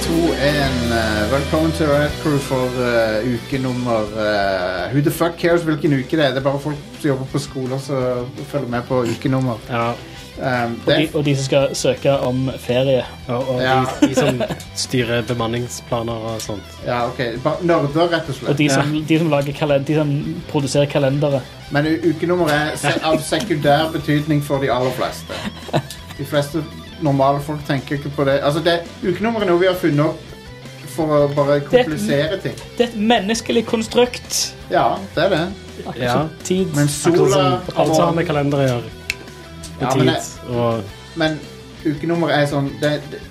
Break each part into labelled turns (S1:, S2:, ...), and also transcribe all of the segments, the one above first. S1: en eh, velkommen til Riot Crew for eh, uke nummer eh, Who the fuck cares hvilken uke det er? Det er bare folk som jobber på skoler som følger med på ukenummer.
S2: Ja.
S1: Um,
S3: Og
S1: det,
S3: de, og de som skal søke om ferie.
S2: Og, og
S1: Ja.
S2: de, de som styrer bemanningsplaner og sånt.
S1: ja, ok. Bare Nerder, rett og
S3: Og
S1: slett.
S3: de som, de som, lager kalend, de som produserer kalendere.
S1: Men u- ukenummer er se av sekundær betydning for de aller fleste. De fleste normale folk tenker ikke på det. Altså, det ukenummer er noe vi har funnet opp for å bare komplisere ting.
S3: Det er et menneskelig konstrukt.
S1: Ja, det er det.
S3: Akkurat
S2: Ja.
S3: som tid.
S1: Men
S2: Akkurat
S1: sola
S2: Sånn som alt som har med kalender å gjøre. Med
S1: Ja, men
S2: tid
S1: det-
S2: og
S1: Men ukenummer er sånn det, det,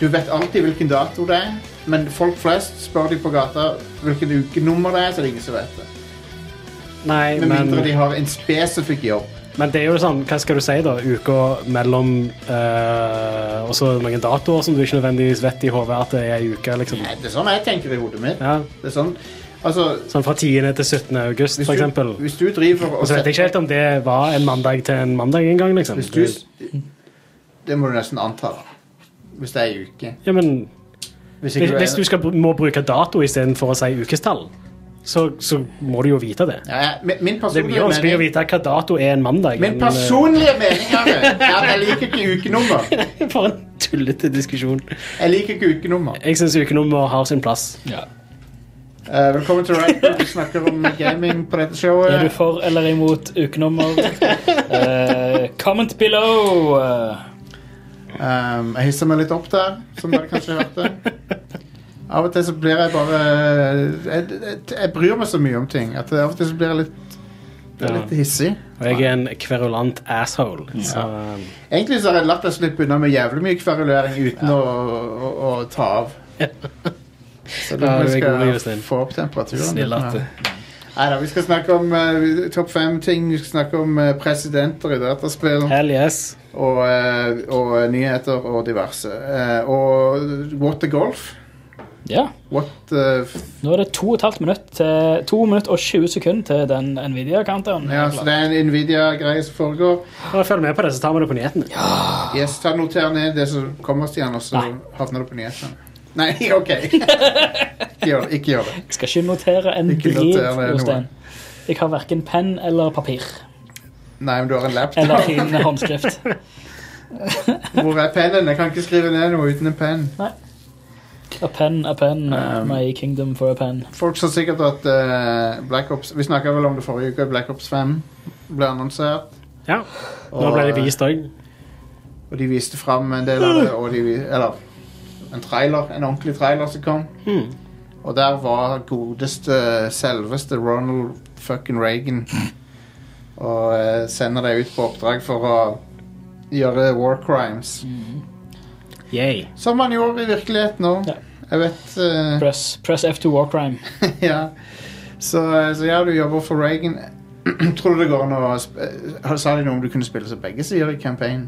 S1: Du vet alltid hvilken dato det er, men folk flest spør de på gata hvilken ukenummer det er, så er det ingen som vet det.
S2: Nei,
S1: Med
S2: men,
S1: mindre de har en spesifikk jobb.
S2: men det er jo sånn, hva skal du si, da? Uka mellom eh, Og så noen datoer som du ikke nødvendigvis vet i hodet at det er ei uke, liksom.
S1: Nei, Det er sånn jeg tenker i hodet mitt.
S2: Ja.
S1: Det er sånn, altså
S2: Sånn fra 10. til 17. august, for
S1: du,
S2: eksempel.
S1: hvis du driver
S2: Og
S1: og
S2: så vet jeg ikke helt om det var en mandag til en mandag engang, liksom.
S1: hvis du, Det må du nesten anta, da. Hvis det er ei uke.
S2: Ja, men
S1: Hvis
S2: hvis,
S1: ikke
S2: hvis du
S1: du er,
S2: skal, br- må bruke dato istedenfor å si ukestall, så, så må du jo vite det.
S1: ja, ja, min, min
S2: Det er mye
S1: personlige
S2: vanskeligere å
S1: mening
S2: vite hva dato er en mandag.
S1: Min
S2: enn, eh,
S1: personlige mening er at jeg liker ikke ukenummer.
S2: eh, For en tullete diskusjon.
S1: Jeg liker ikke ukenummer.
S2: Jeg syns ukenummer har sin plass.
S3: Ja.
S1: Eh, velkommen til Red Bull. Vi snakker om gaming på dette
S3: Er du
S1: showet.
S3: for eller imot ukenummer? Eh, comment below. Eh,
S1: Um, jeg hisser meg litt opp der, som dere kanskje hørte. Av og til så blir jeg bare eh, jeg, jeg, jeg bryr meg så mye om ting at av og til så blir jeg litt, jeg er
S2: Ja.
S1: litt hissig.
S2: Og jeg er en kverulant asshole. Så eh,
S1: Egentlig så har jeg latt deg slippe unna med jævlig mye kverulering uten å, å, å ta av. Så
S2: Ja,
S1: vi
S2: du er god,
S1: skal
S2: Jostein.
S1: få opp temperaturen.
S4: Snill at
S1: Nei da, vi skal snakke om eh, topp fem-ting. Vi skal snakke om eh, presidenter i dataspill.
S2: hell yes.
S1: og, eh, og nyheter og diverse. Eh, Og What the Golf?
S3: ja.
S1: What the f
S3: Nå er det to og et halvt minutt til, to minutter og 20 sekunder til den Nvidia-counteren.
S1: ja, Så det er en Nvidia-greie som foregår.
S2: Bare følg med på det, så tar vi det på nyhetene.
S1: Yes, ta noter ned det som kommer, Stian, og så
S3: Nei.
S1: havner det på nyhetene. Nei, OK. Ikke gjør, det, ikke gjør det.
S3: Jeg skal ikke notere en
S1: Ikke
S3: drit,
S1: notere noe.
S3: Jostein. Jeg har verken penn eller papir.
S1: Nei, men du har en laptop.
S3: Eller fin håndskrift.
S1: Hvor er pennen? Jeg kan ikke skrive ned noe uten en penn.
S3: A pen, a pen, uh,
S1: Um,
S3: my kingdom for a pen.
S1: Folk sa sikkert at eh, Black Ops Vi snakka vel om det forrige uke. Black Ops 5 ble annonsert.
S2: Ja.
S1: Og, eh,
S2: Nå ble det vist òg.
S1: Og de viste fram en del av det, og de, vi- eller en trailer, en ordentlig trailer som kom.
S2: Mm.
S1: Og der var godeste, selveste Ronald fucking Reagan og eh, sender deg ut på oppdrag for å gjøre war crimes.
S2: Yay.
S1: Som han gjorde i virkeligheten òg.
S3: Ja.
S1: Jeg vet eh,
S3: Press, press F2 war crime.
S1: ja. Så, eh, så ja, du jobber for Reagan. Tror du det går an å sp eh, Sa de noe om du kunne spille som begge sider i campaign?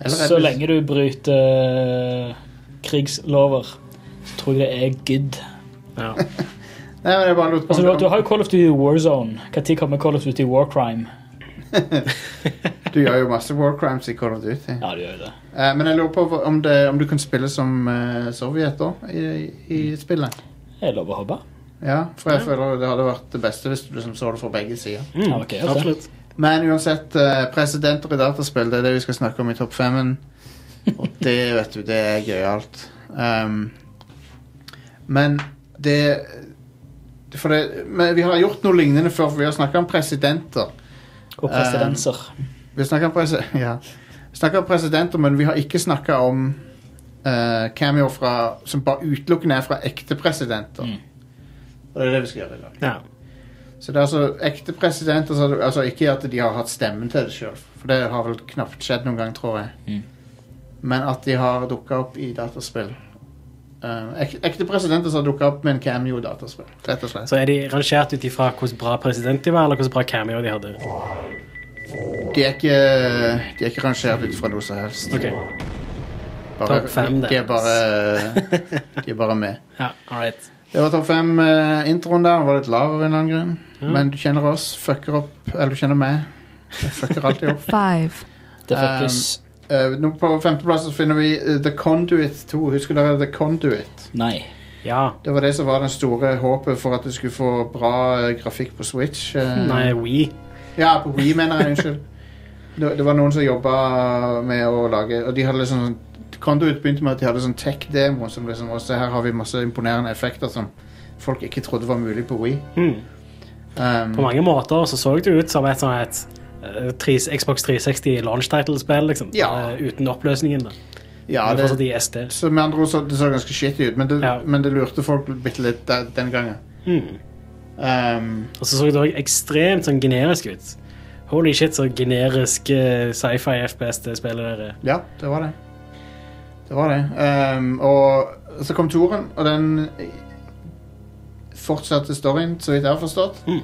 S1: Eller er
S3: Så
S1: det-
S3: lenge du bryter uh, krigslover, så tror jeg det er good.
S2: Ja.
S1: Nei, men jeg bare lot
S3: Altså, du, du har jo Call of Duty War Zone. Når kommer Call of Duty War Crime?
S1: Du gjør jo masse war crimes i Call of Duty.
S3: Ja, du gjør jo det.
S1: Eh, men jeg lurer på hva- om, det, om du kan spille som eh, Sovjet da, i, i spillet.
S3: Er det lov å håpe?
S1: Ja, for jeg føler det hadde vært det beste hvis du liksom så det altså. fra begge sider.
S2: Mm.
S3: Ja, ok, ok.
S2: Absolutt.
S1: Men uansett, eh, presidenter i dataspill, det er det vi skal snakke om i topp femmen. Og det, vet du, det er gøyalt. Um, men det for det, men vi har gjort noe lignende før, for vi har snakka om presidenter.
S3: Og presidenser.
S1: Vi snakker om, presi ja. vi snakker om presidenter, men vi har ikke snakka om uh, cameo fra, som bare utelukkende er fra ekte presidenter.
S3: Mm.
S1: Og det er det vi skal gjøre i dag.
S2: Ja.
S1: Så det er altså ekte presidenter, så er det, altså ikke at de har hatt stemmen til det sjøl, for det har vel knapt skjedd noen gang, tror jeg.
S3: Mm.
S1: Men at de har dukka opp i dataspill. Eh, ek ekte presidenter som har dukka opp med en cameo i dataspill, rett og slett.
S2: Så er de rangert ut ifra hvor bra president de var, eller hvor bra cameo de hadde.
S1: De er ikke, de er ikke rangert ut fra noe som helst.
S2: Ok.
S1: Bare,
S2: Topp fem, det.
S1: de, er bare, de er bare med.
S2: Ja, all right.
S1: Det var topp fem. eh, introen der var litt lav av en eller annen grunn.
S2: Ja.
S1: Men du kjenner oss. Fucker opp. Eller du kjenner meg. Jeg fucker alltid opp.
S5: Five,
S3: Det fuckes
S1: Eh, nå på femteplass så finner vi eh, The Conduit 2. Husker dere The Conduit?
S3: Nei.
S2: Ja.
S1: Det var det som var den store håpet for at du skulle få bra eh, grafikk på Switch. eh,
S2: Nei, We.
S1: Ja, på Wii, mener jeg. Unnskyld. Det, det var noen som jobba med å lage Og de hadde liksom sånn Conduit begynte med at de hadde sånn tech-demo som liksom også Her har vi masse imponerende effekter som folk ikke trodde var mulig på Wii.
S2: Hmm.
S1: Um,
S2: På mange måter så så det ut som et sånn et eh, tris- Xbox 360 launch title-spill, liksom.
S1: Ja.
S2: Eh, Uten oppløsningen. da.
S1: ja,
S2: Men fortsatt
S1: det,
S2: i SD.
S1: så med andre ord så det så ganske shitty ut, men det,
S2: Ja.
S1: men det lurte folk bitte litt der, den gangen. Mm.
S2: Hmm.
S1: Um,
S2: Og så så det også ekstremt sånn generisk ut. Holy shit, så generisk eh, sci-fi FPS det spillet der eh. er.
S1: ja, det var det. Det var det. Um, og så kom Toren, og den fortsatte storyen, så vidt jeg har forstått.
S2: Mm.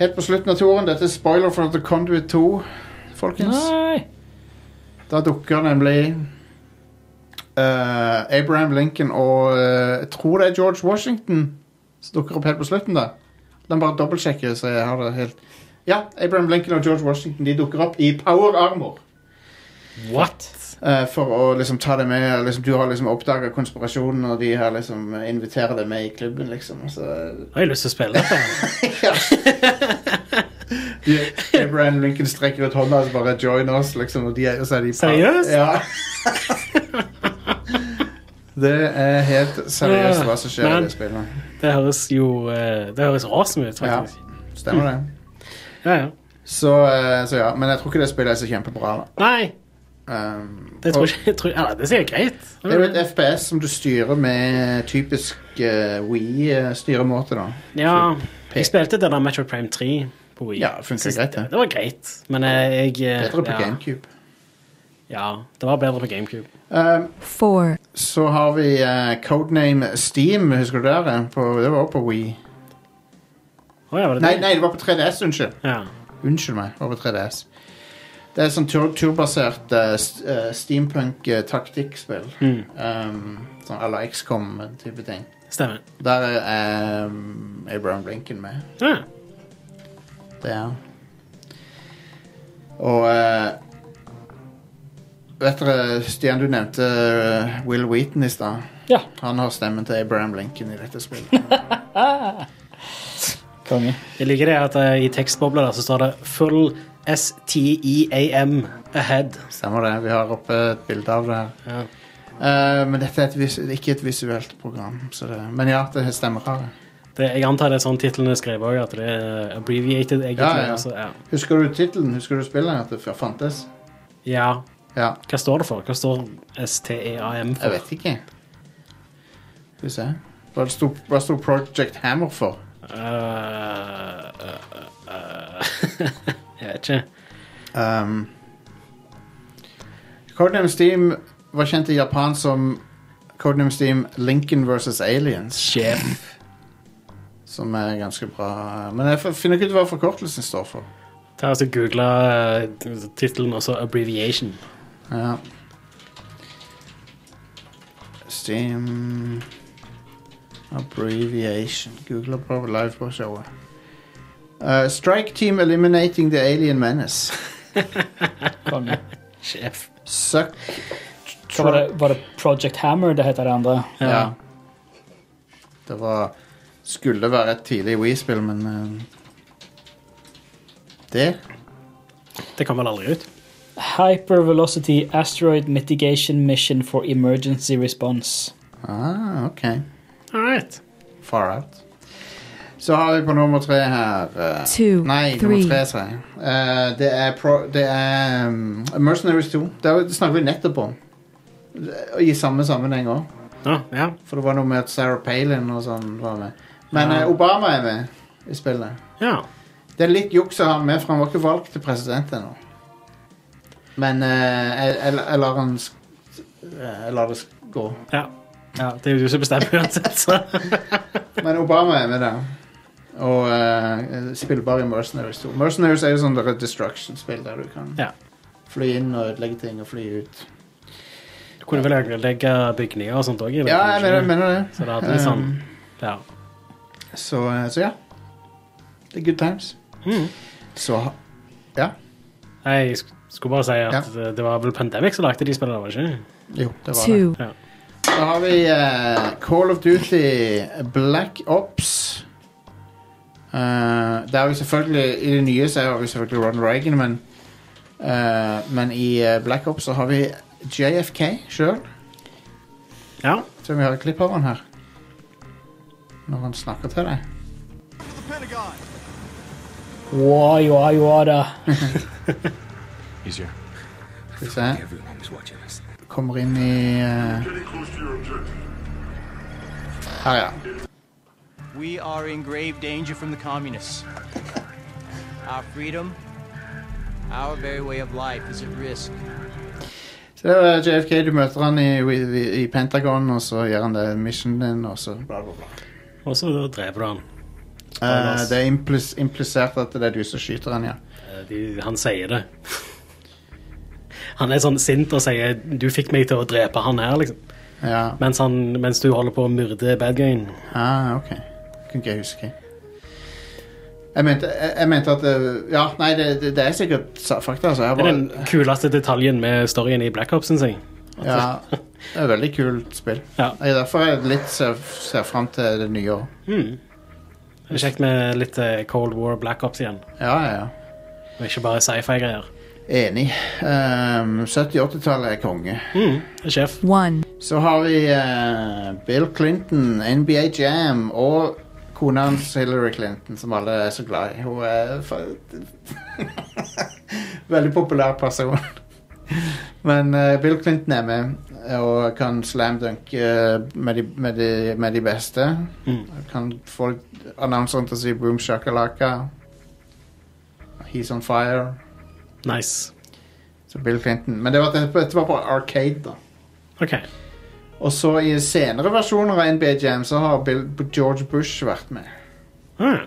S1: Helt på slutten av turen, dette er spoiler for The Conduit 2, folkens.
S3: Nei.
S1: Da dukker nemlig eh, Abraham Lincoln og eh, jeg tror det er George Washington som dukker opp helt på slutten. da. La meg bare dobbeltsjekke, så jeg har det helt Ja, Abraham Lincoln og George Washington de dukker opp i power armor.
S2: What?
S1: eh, for å liksom ta det med liksom, Du har liksom oppdaga konspirasjonen, og de her liksom inviterer deg med i klubben, liksom. Så,
S2: Nå har jeg lyst til å spille dette.
S1: de, Abraham Lincoln strekker ut hånda og så bare 'join us', liksom. Og, de, er- og så er de
S2: Seriøst?
S1: Ja. det er helt seriøst hva som skjer i
S2: Men-
S1: det spillet.
S2: Det høres jo eh, Det høres awesome ut, faktisk.
S1: Stemmer det.
S2: Ja, ja.
S1: Så, eh, så ja, men jeg tror ikke det spillet er så kjempebra. da.
S2: Nei,
S1: Um,
S2: det
S1: og
S2: tror ikke jeg tror, ja, Det sier greit.
S1: det er jo et FPS som du styrer med typisk eh, Wii-styremåte, da.
S2: Ja,
S1: P-
S2: jeg spilte det der Metro Prime 3 på Wii.
S1: Ja, funker
S2: Synes
S1: greit, det.
S2: Det var greit, men eh, jeg eh,
S1: Bedre på
S2: ja,
S1: GameCube.
S2: Ja, det var bedre på GameCube.
S1: Um,
S4: four,
S1: så har vi eh, Codename Steam, husker du det? der? På, det var også på Wii.
S2: Å ja, var det
S1: Nei,
S2: det?
S1: nei, det var på 3DS, unnskyld.
S2: Ja.
S1: Unnskyld meg, over 3DS. Det er sånn tur turbasert eh, st eh, steampunk-taktikkspill.
S2: Mm,
S1: Um, sånn à la XCOM-type ting.
S2: stemmer.
S1: Der er um, Abraham Lincoln med.
S2: Ja.
S1: Det er han. Og eh, Vet dere, Stian, du nevnte eh, Will Wheaton i stad.
S3: Ja.
S1: Han har stemmen til Abraham Lincoln i dette spillet.
S3: Konge.
S2: Jeg liker det at eh, i tekstbobla der så står det full STEAM ahead.
S1: Stemmer det. Vi har oppe et bilde av det her.
S2: Ja.
S1: Eh, men dette er et vis ikke et visuelt program. Så det, men ja, det stemmer. Kari.
S2: Det, jeg antar det er sånn titlene er skrevet òg, at det er eh, abbreviated. egentlig.
S1: Ja, ja, ja.
S2: altså, ja.
S1: Husker du tittelen? Husker du spillet? At det f- fantes?
S2: ja.
S1: Ja,
S2: Hva står det for? Hva står STEAM
S1: jeg
S2: for?
S1: vet ikke. Skal vi se Hva sto, hva sto Project Hammer for?
S2: Eh, eh, eh, jeg vet ikke.
S1: Um, Codename Steam var kjent i Japan som Codename Steam Lincoln vs. Aliens.
S2: Sjef.
S1: Som er ganske bra. Men jeg f- finner ikke ut hva forkortelsen står for.
S2: Ta altså Google uh, tittelen og så abbreviation.
S1: Ja. Steam Abbreviation. Google på live på showet. Uh, strike Team Eliminating the Alien Menace.
S3: Konge.
S2: Sjef.
S1: Suck.
S3: Hva var, det, var det Project Hammer det heter det andre?
S1: Ja. Det var Skulle være et tidlig Wii-spill, men eh, Det?
S2: Det kom vel aldri ut?
S3: Hypervelocity Asteroid Mitigation Mission for Emergency Response.
S1: Ah, OK.
S2: All right.
S1: Far out. Så har vi på nummer tre her eh,
S4: two,
S1: Nei,
S4: three,
S1: nummer tre, sa jeg. Eh, det er, pro, det er um, Mercenaries 2. Det, er, jo- det snakker vi nettopp om. Det- I samme sammenheng òg.
S2: Ja, ja.
S1: For det var noe med at Sarah Palin og sånn var med. Men
S2: Ja.
S1: eh, Obama er med i spillet.
S2: ja.
S1: Det er litt juks å ha han med, for han var ikke valgt til president ennå. Men eh, jeg, jeg, jeg lar han sk- eh, Jeg lar det sk- gå.
S2: ja. ja. Det er jo du som bestemmer uansett, så.
S1: Men Obama er med der. Og eh, spillbar i Mercenaries 2. Mercenaries er jo sånn der destruction-spill der du kan
S2: Ja.
S1: fly inn og ødelegge ting og fly ut.
S2: Du kunne vel ødelegge bygninger og sånt òg?
S1: Ja, jeg mener, jeg mener det.
S2: Så det hadde litt sånn
S1: Um,
S2: Ja.
S1: så, eh, så ja. Det er good times.
S2: Mm.
S1: Så ha-
S2: Nei, Jeg sk- Skulle bare si at eh, det var vel Pandemic som lagde de spillene, var det ikke?
S1: Jo, det var det.
S4: Two.
S1: Så har vi eh, Call of Duty Black Ops. Eh, det er jo selvfølgelig I det nye så er jo selvfølgelig Ron Reagan, men eh, Men i eh, Black Ops så har vi JFK sjøl.
S2: Ja.
S1: Så vi har et klipp av han her. Når han snakker til deg.
S3: Wow, wow, wow, da.
S5: He's here.
S1: Skal vi se.
S5: Everyone was watching us.
S1: Kommer inn i eh,
S6: Getting close to your objective.
S1: Her, ja.
S7: We are in grave danger from the communists. Our freedom, our very way of life is at risk.
S1: Så det er eh, JFK. Du møter han i, i, i Pentagon, og så gjør han det mission din, og så eh, bla, bla, bla.
S2: Og så dreper du han.
S1: Eh, det er implis implisert at det er du som skyter han, ja.
S2: Eh, De, han sier det. Han er sånn sint og sier 'du fikk meg til å drepe han her', liksom.
S1: ja.
S2: Mens, han, mens du holder på å myrde badguyen.
S1: Ah, ok. Kunne ikke jeg huske. Jeg mente, jeg, jeg mente at eh, Ja, nei, det, det, det er sikkert sa- fakta. Altså. Jeg
S2: Det er
S1: bare,
S2: den kuleste detaljen med storyen i Black Ops, syns jeg.
S1: ja, det er et veldig kult spill.
S2: Ja.
S1: Jeg er derfor jeg litt ser, ser fram til det nye år.
S2: Mm. Det er Kjekt med litt eh, Cold War Black Ops igjen,
S1: Ja, ja, ja.
S2: og ikke bare sci-fi-greier.
S1: Enig. Um, 70-80-tallet er konge.
S2: Mm. Sjef.
S4: One.
S1: Så har vi eh, Bill Clinton, NBA Jam og kona hans Hillary Clinton, som alle er så glad i. Hun er fa- veldig populær person. Men eh, Bill Clinton er med og kan slamdunke eh, med, de- med, de- med de beste.
S2: Mm.
S1: Kan få annonseren til å si boom shakalaka. He's on fire.
S2: Nice.
S1: Så Bill Clinton. Men det var, dette var på Arcade, da.
S2: OK.
S1: Og så i senere versjoner av NBA Jam så har Bill, George Bush vært med.
S2: Ah.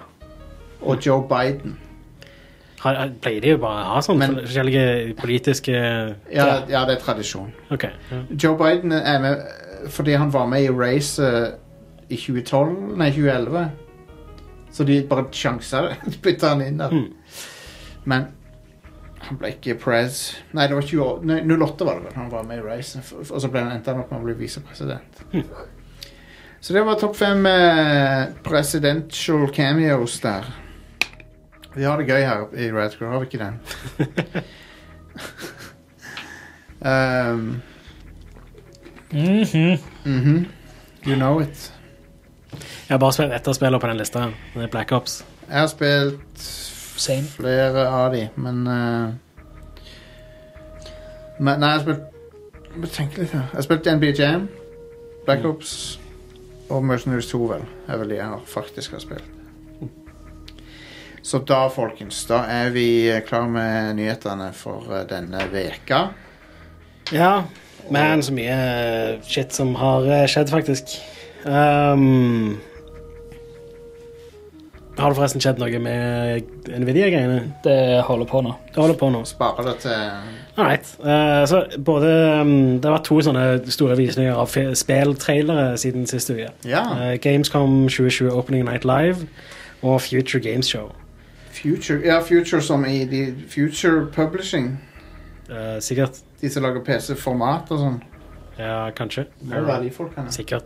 S1: Og Joe Biden.
S2: Har, har- pleier de jo bare å ha sånne
S1: Men-
S2: forskjellige politiske
S1: Ja, ja, det er tradisjon.
S2: OK. Ja.
S1: Joe Biden er med eh, fordi han var med i racet i 2012, nei 2011. Så de bare sjansa det. De Bytta han inn der.
S2: Mm.
S1: Men han ble ikke prez. Nei, det var 20, år- nei, 08 var det vel han var med i racet. F- f- Og så ble han endte han opp med å bli visepresident. Så det var topp fem eh, presidential cameos der. Vi har det gøy her i Radcrow, har vi ikke det? um,
S3: Mhm.
S1: mhm. You know it.
S2: Jeg har bare spilt ett av spillene på den lista. Det er Black Ops.
S1: Jeg har spilt
S3: Same.
S1: flere av de, men eh, Men nei, jeg har spilt Jeg må tenke litt her. Jeg har spilt NBA Jam, Black Ops og Mercenaries 2, vel. Er vel de jeg har faktisk har spilt. Så da, folkens, da er vi eh, klar med nyhetene for eh, denne veka.
S2: Ja, men så mye shit som har eh, skjedd, faktisk. Ehm, har det forresten skjedd noe med Nvidia-greiene?
S3: Det holder på nå.
S2: Det holder på nå.
S1: Sparer det til
S2: Alright. Eh, så både ehm, Det har vært to sånne store visninger av fe- spilltrailere siden sist uke.
S1: Ja.
S2: Eh, Gamescom 2020 Opening Night Live og Future Games Show.
S1: Future. Ja, Future som i de Future Publishing.
S2: Eh, sikkert.
S1: De som lager PC-format og sånn.
S2: Ja, kanskje.
S1: Må jo være de folkene.
S2: Sikkert.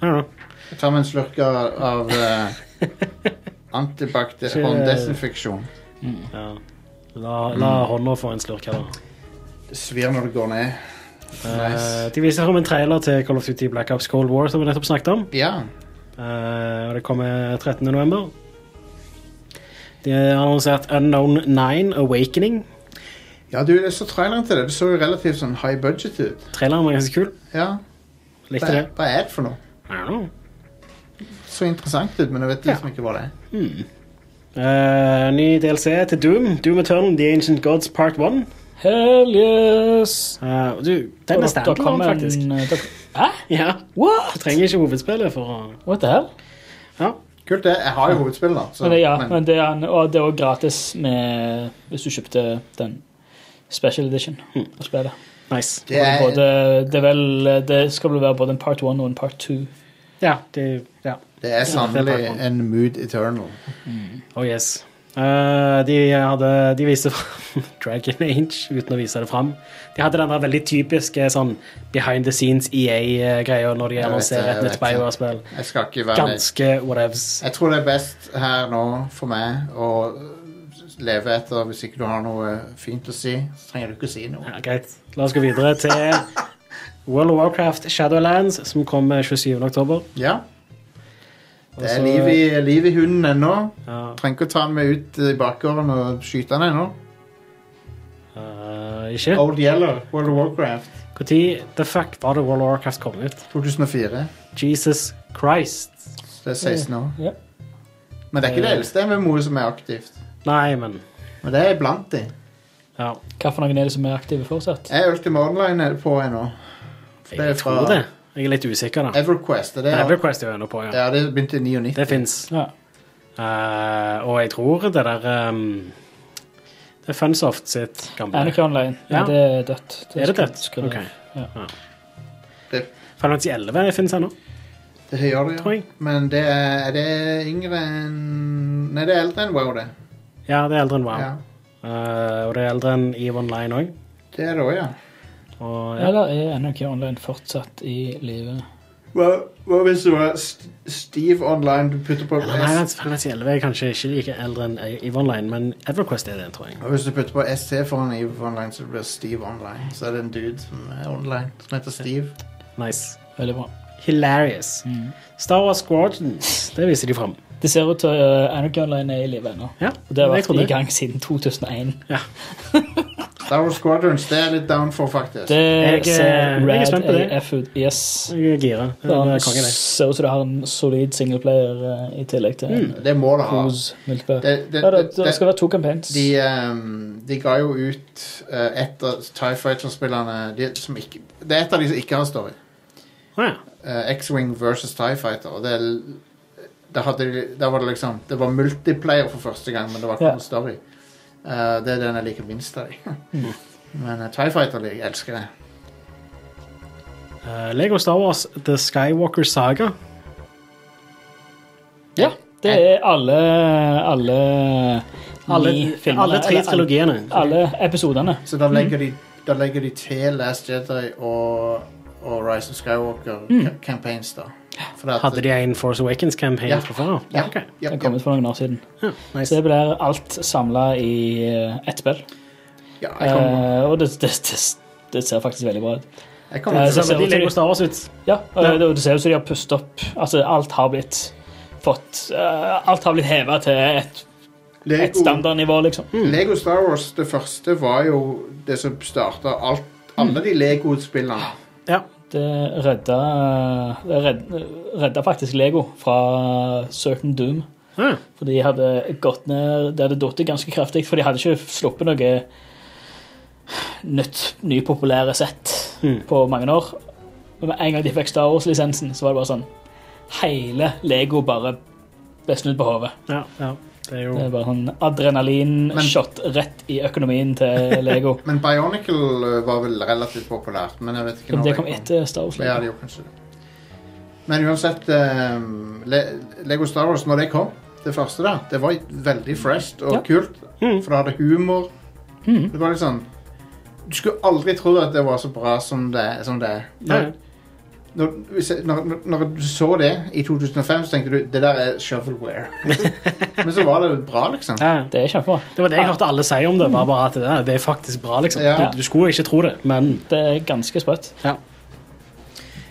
S2: I don't know.
S1: Jeg tar meg en slurk av, av eh, antibac de-
S2: Ikke-
S1: hånddesinfeksjon.
S2: Ja. La, la
S1: Mm.
S2: hånda få en slurk her, da.
S1: Det svir når det går ned. Nice.
S2: Eh, de viser frem en trailer til Call of Duty Black Ops Cold War, som vi nettopp snakket om.
S1: Ja.
S2: Eh, og det kommer 13. november. De har annonsert Unknown 9 Awakening.
S1: ja, du, jeg så traileren til det. Det så jo relativt sånn high budget ut.
S2: Traileren var ganske kul.
S1: Ja,
S2: Likte
S1: hva,
S2: det.
S1: hva er det for noe?
S2: I don't know.
S1: Så interessant ut, men jeg vet liksom ikke hva det er.
S2: Eh, ny DLC til Doom. Doom Eternal The Ancient Gods Part 1.
S3: Hell yes!
S2: Eh, og du, den er
S3: Da- da kom
S2: standalone, faktisk.
S3: en, eh, da- Hæ?
S2: Ja. Du
S3: What?
S2: trenger ikke hovedspillet for å
S3: What the hell?
S2: Ja.
S1: Kult, det. Jeg har jo hovedspill, da. Så,
S3: Men det, ja,
S1: men-
S3: men det er, en- og det var gratis med, hvis du kjøpte den special edition
S2: Hm.
S3: av spillet.
S2: Nice.
S1: det er,
S3: Både, det, er vel, det skal vel være både en part one og en part two.
S2: Ja, det ja.
S1: det er sannelig en mood eternal.
S2: Oh yes. Eh, de, hadde, de viste fram Dragon Age uten å vise det fram. De hadde den der veldig typiske sånn behind the scenes E EA-greia når de
S1: Jeg vet
S2: annonserer
S1: det,
S2: et
S1: jeg
S2: nytt
S1: vet det.
S2: Bioware-spill.
S1: Jeg skal ikke være med.
S2: Ganske whatevs.
S1: Jeg tror det er best her nå for meg å leve etter hvis ikke du har noe fint å si. Så trenger du ikke å si noe.
S2: Ja, greit. La oss gå videre til World of Warcraft Shadowlands, som kommer 27. oktober.
S1: Ja. Det
S2: Og så-
S1: er liv i, liv i hunden ennå.
S2: Ja,
S1: Trenger ikke å ta den med ut i bakgården og skyte den ennå.
S2: eh, ikke.
S1: Old Yellow, World of Warcraft.
S2: Når the fuck var det World of Warcraft kom ut?
S1: 2004.
S2: Jesus Christ.
S1: Så det er 16 år.
S3: Ja.
S1: Men det er ikke det
S2: Eh.
S1: eldste MMO-et som er aktivt.
S2: Nei, men
S1: Men det er blant de.
S2: ja.
S3: Hva for noen er det som er aktive fortsatt?
S1: Er Ultima Online på ennå? For det er
S2: Jeg
S1: fra-
S2: tror det. Jeg er litt usikker, da.
S1: Everquest. Er det,
S2: Men Everquest er jo ennå på, ja.
S1: ja, det begynte i 99.
S2: Det fins.
S3: Ja.
S2: og jeg tror det der ehm, Det er Funsoft sitt gamle
S3: Anarchy Online. Nei,
S2: Ja.
S3: det er dødt.
S2: Er det
S3: skal-
S2: dødt?
S3: skal-
S2: OK.
S1: Det,
S2: Final Fantasy 11 fins ennå,
S1: det gjør det, ja.
S2: tror jeg.
S1: Men det er, er det yngre enn Nei, det er eldre enn WoW, det.
S2: Ja, det er eldre enn WoW.
S1: Ja.
S2: Eh, og det er eldre enn EVE Online òg.
S1: Det er det òg, ja.
S2: Og ja,
S3: Eller er Anarchy Online fortsatt i live?
S1: Hva, hva hvis det var St- Steve Online du putter på
S2: Nei,
S1: S
S2: Final Fantasy 11 er kanskje ikke like eldre enn EVE Online, men Everquest er det, tror jeg.
S1: Hva hvis du putter på SC foran Eve Online, så blir det Steve Online. Så er det en dude som er online, som heter Steve.
S2: Nice.
S3: Veldig bra.
S2: Hilarious. Star Wars Squadrons, det viser de fram.
S3: Det ser ut til at eh, Anarchy Online er i live ennå.
S2: Ja,
S3: Og det har
S2: jeg
S3: vært
S2: trodde
S3: i
S2: det.
S3: gang siden 2001.
S1: Star Wars Squadrons, det er jeg litt down for, faktisk.
S3: Det eh,
S2: Jeg er-
S3: ser
S2: jeg er
S3: rad
S2: spent på det.
S3: AF ut. Yes.
S2: Jeg er gira. Det er
S3: Det
S2: konge, det.
S3: ser ut som det har en solid singleplayer eh, i tillegg til
S2: Mm.
S3: en
S1: Det, må det ha.
S3: kos multiplayer.
S1: Det, det,
S3: Ja,
S1: det,
S3: det, det skal være to campaigns.
S1: de, ehm, de ga jo ut eh, et av Tie Fighter-spillerne de, som ikke Det er et av de som ikke har story.
S2: Å ja.
S1: eh, X-Wing versus TIE Fighter. Og det, da, hadde, de- da var det liksom Det var multiplayer for første gang, men det var ikke
S3: Ja.
S1: noen story. Eh, det er den jeg liker minst av de.
S3: Mm.
S1: men eh, TIE Fighter jeg elsker jeg.
S2: Eh, Lego Star Wars The Skywalker Saga.
S3: ja, det er alle Alle,
S2: Alle,
S3: ni filmene,
S2: alle tre
S3: eller
S2: trilogiene.
S3: Alle episodene.
S1: Så da legger,
S3: Mm.
S1: de, da legger de til Last Jedi og, og Rise of Skywalker
S3: Mm.
S1: ca- campaigns, da. For at,
S2: Hadde de en Force Awakens-campaign
S1: Ja.
S2: fra før av?
S1: Ja,
S2: Ok.
S1: ja,
S3: Den
S1: ja,
S3: kom ut for noen år siden.
S2: Ja,
S3: Så
S2: nice.
S3: det blir alt samla i eh, ett spill.
S1: ja, jeg kommer,
S3: Eh, og det, det, det, det ser faktisk veldig bra ut.
S1: jeg kommer
S3: eh,
S2: Så
S1: til
S3: ser
S2: ser de
S3: ut til-
S2: Lego Star Wars ut.
S3: Ja, og
S2: Ja.
S3: Det, og det ser ut som de har pustet opp. Altså, alt har blitt fått eh, Alt har blitt heva til et, et
S1: Lego,
S3: standardnivå, liksom.
S1: Lego Star Wars, det første, var jo det som starta alt.
S3: Mm.
S1: Alle de Lego-spillene.
S2: Ja.
S3: Det redda, det redd, redda faktisk Lego fra Certain Doom.
S2: Ja.
S3: For de hadde gått ned Det hadde datt ganske kraftig, for de hadde ikke sluppet noe nytt, nypopulære sett
S2: Mm.
S3: på mange år. Men med en gang de fikk Star Wars-lisensen, så var det bare sånn Hele Lego bare ble snudd på hodet.
S2: Ja, ja. Det er jo
S3: Det er bare sånn adrenalinshot rett i økonomien til Lego.
S1: Men Bionicle eh, var vel relativt populært, men jeg vet ikke
S3: Men
S1: når
S3: det kom etter Star Wars.
S1: Ja,
S3: Lego.
S1: det gjorde kanskje det. Men uansett, eh, Le Lego Star Wars, når det kom, det første da, det var veldig fresh og
S3: Ja.
S1: kult,
S2: Mhm.
S1: for det hadde humor.
S2: Mm.
S3: Mhm.
S1: Det var litt sånn, du skulle aldri tro at det var så bra som det, som det er.
S2: Ja, ja.
S1: Når, hvis jeg- når, når- når du så det i 2005, så tenkte du, det der er shovelware. men så var det bra, liksom.
S2: Ja, ja.
S3: Det er kjempebra.
S2: Det var det jeg hørte alle si om det. Var bare at det, der, det er faktisk bra, liksom.
S1: Ja.
S2: Du, du skulle ikke tro det, men,
S3: Det er ganske sprøtt.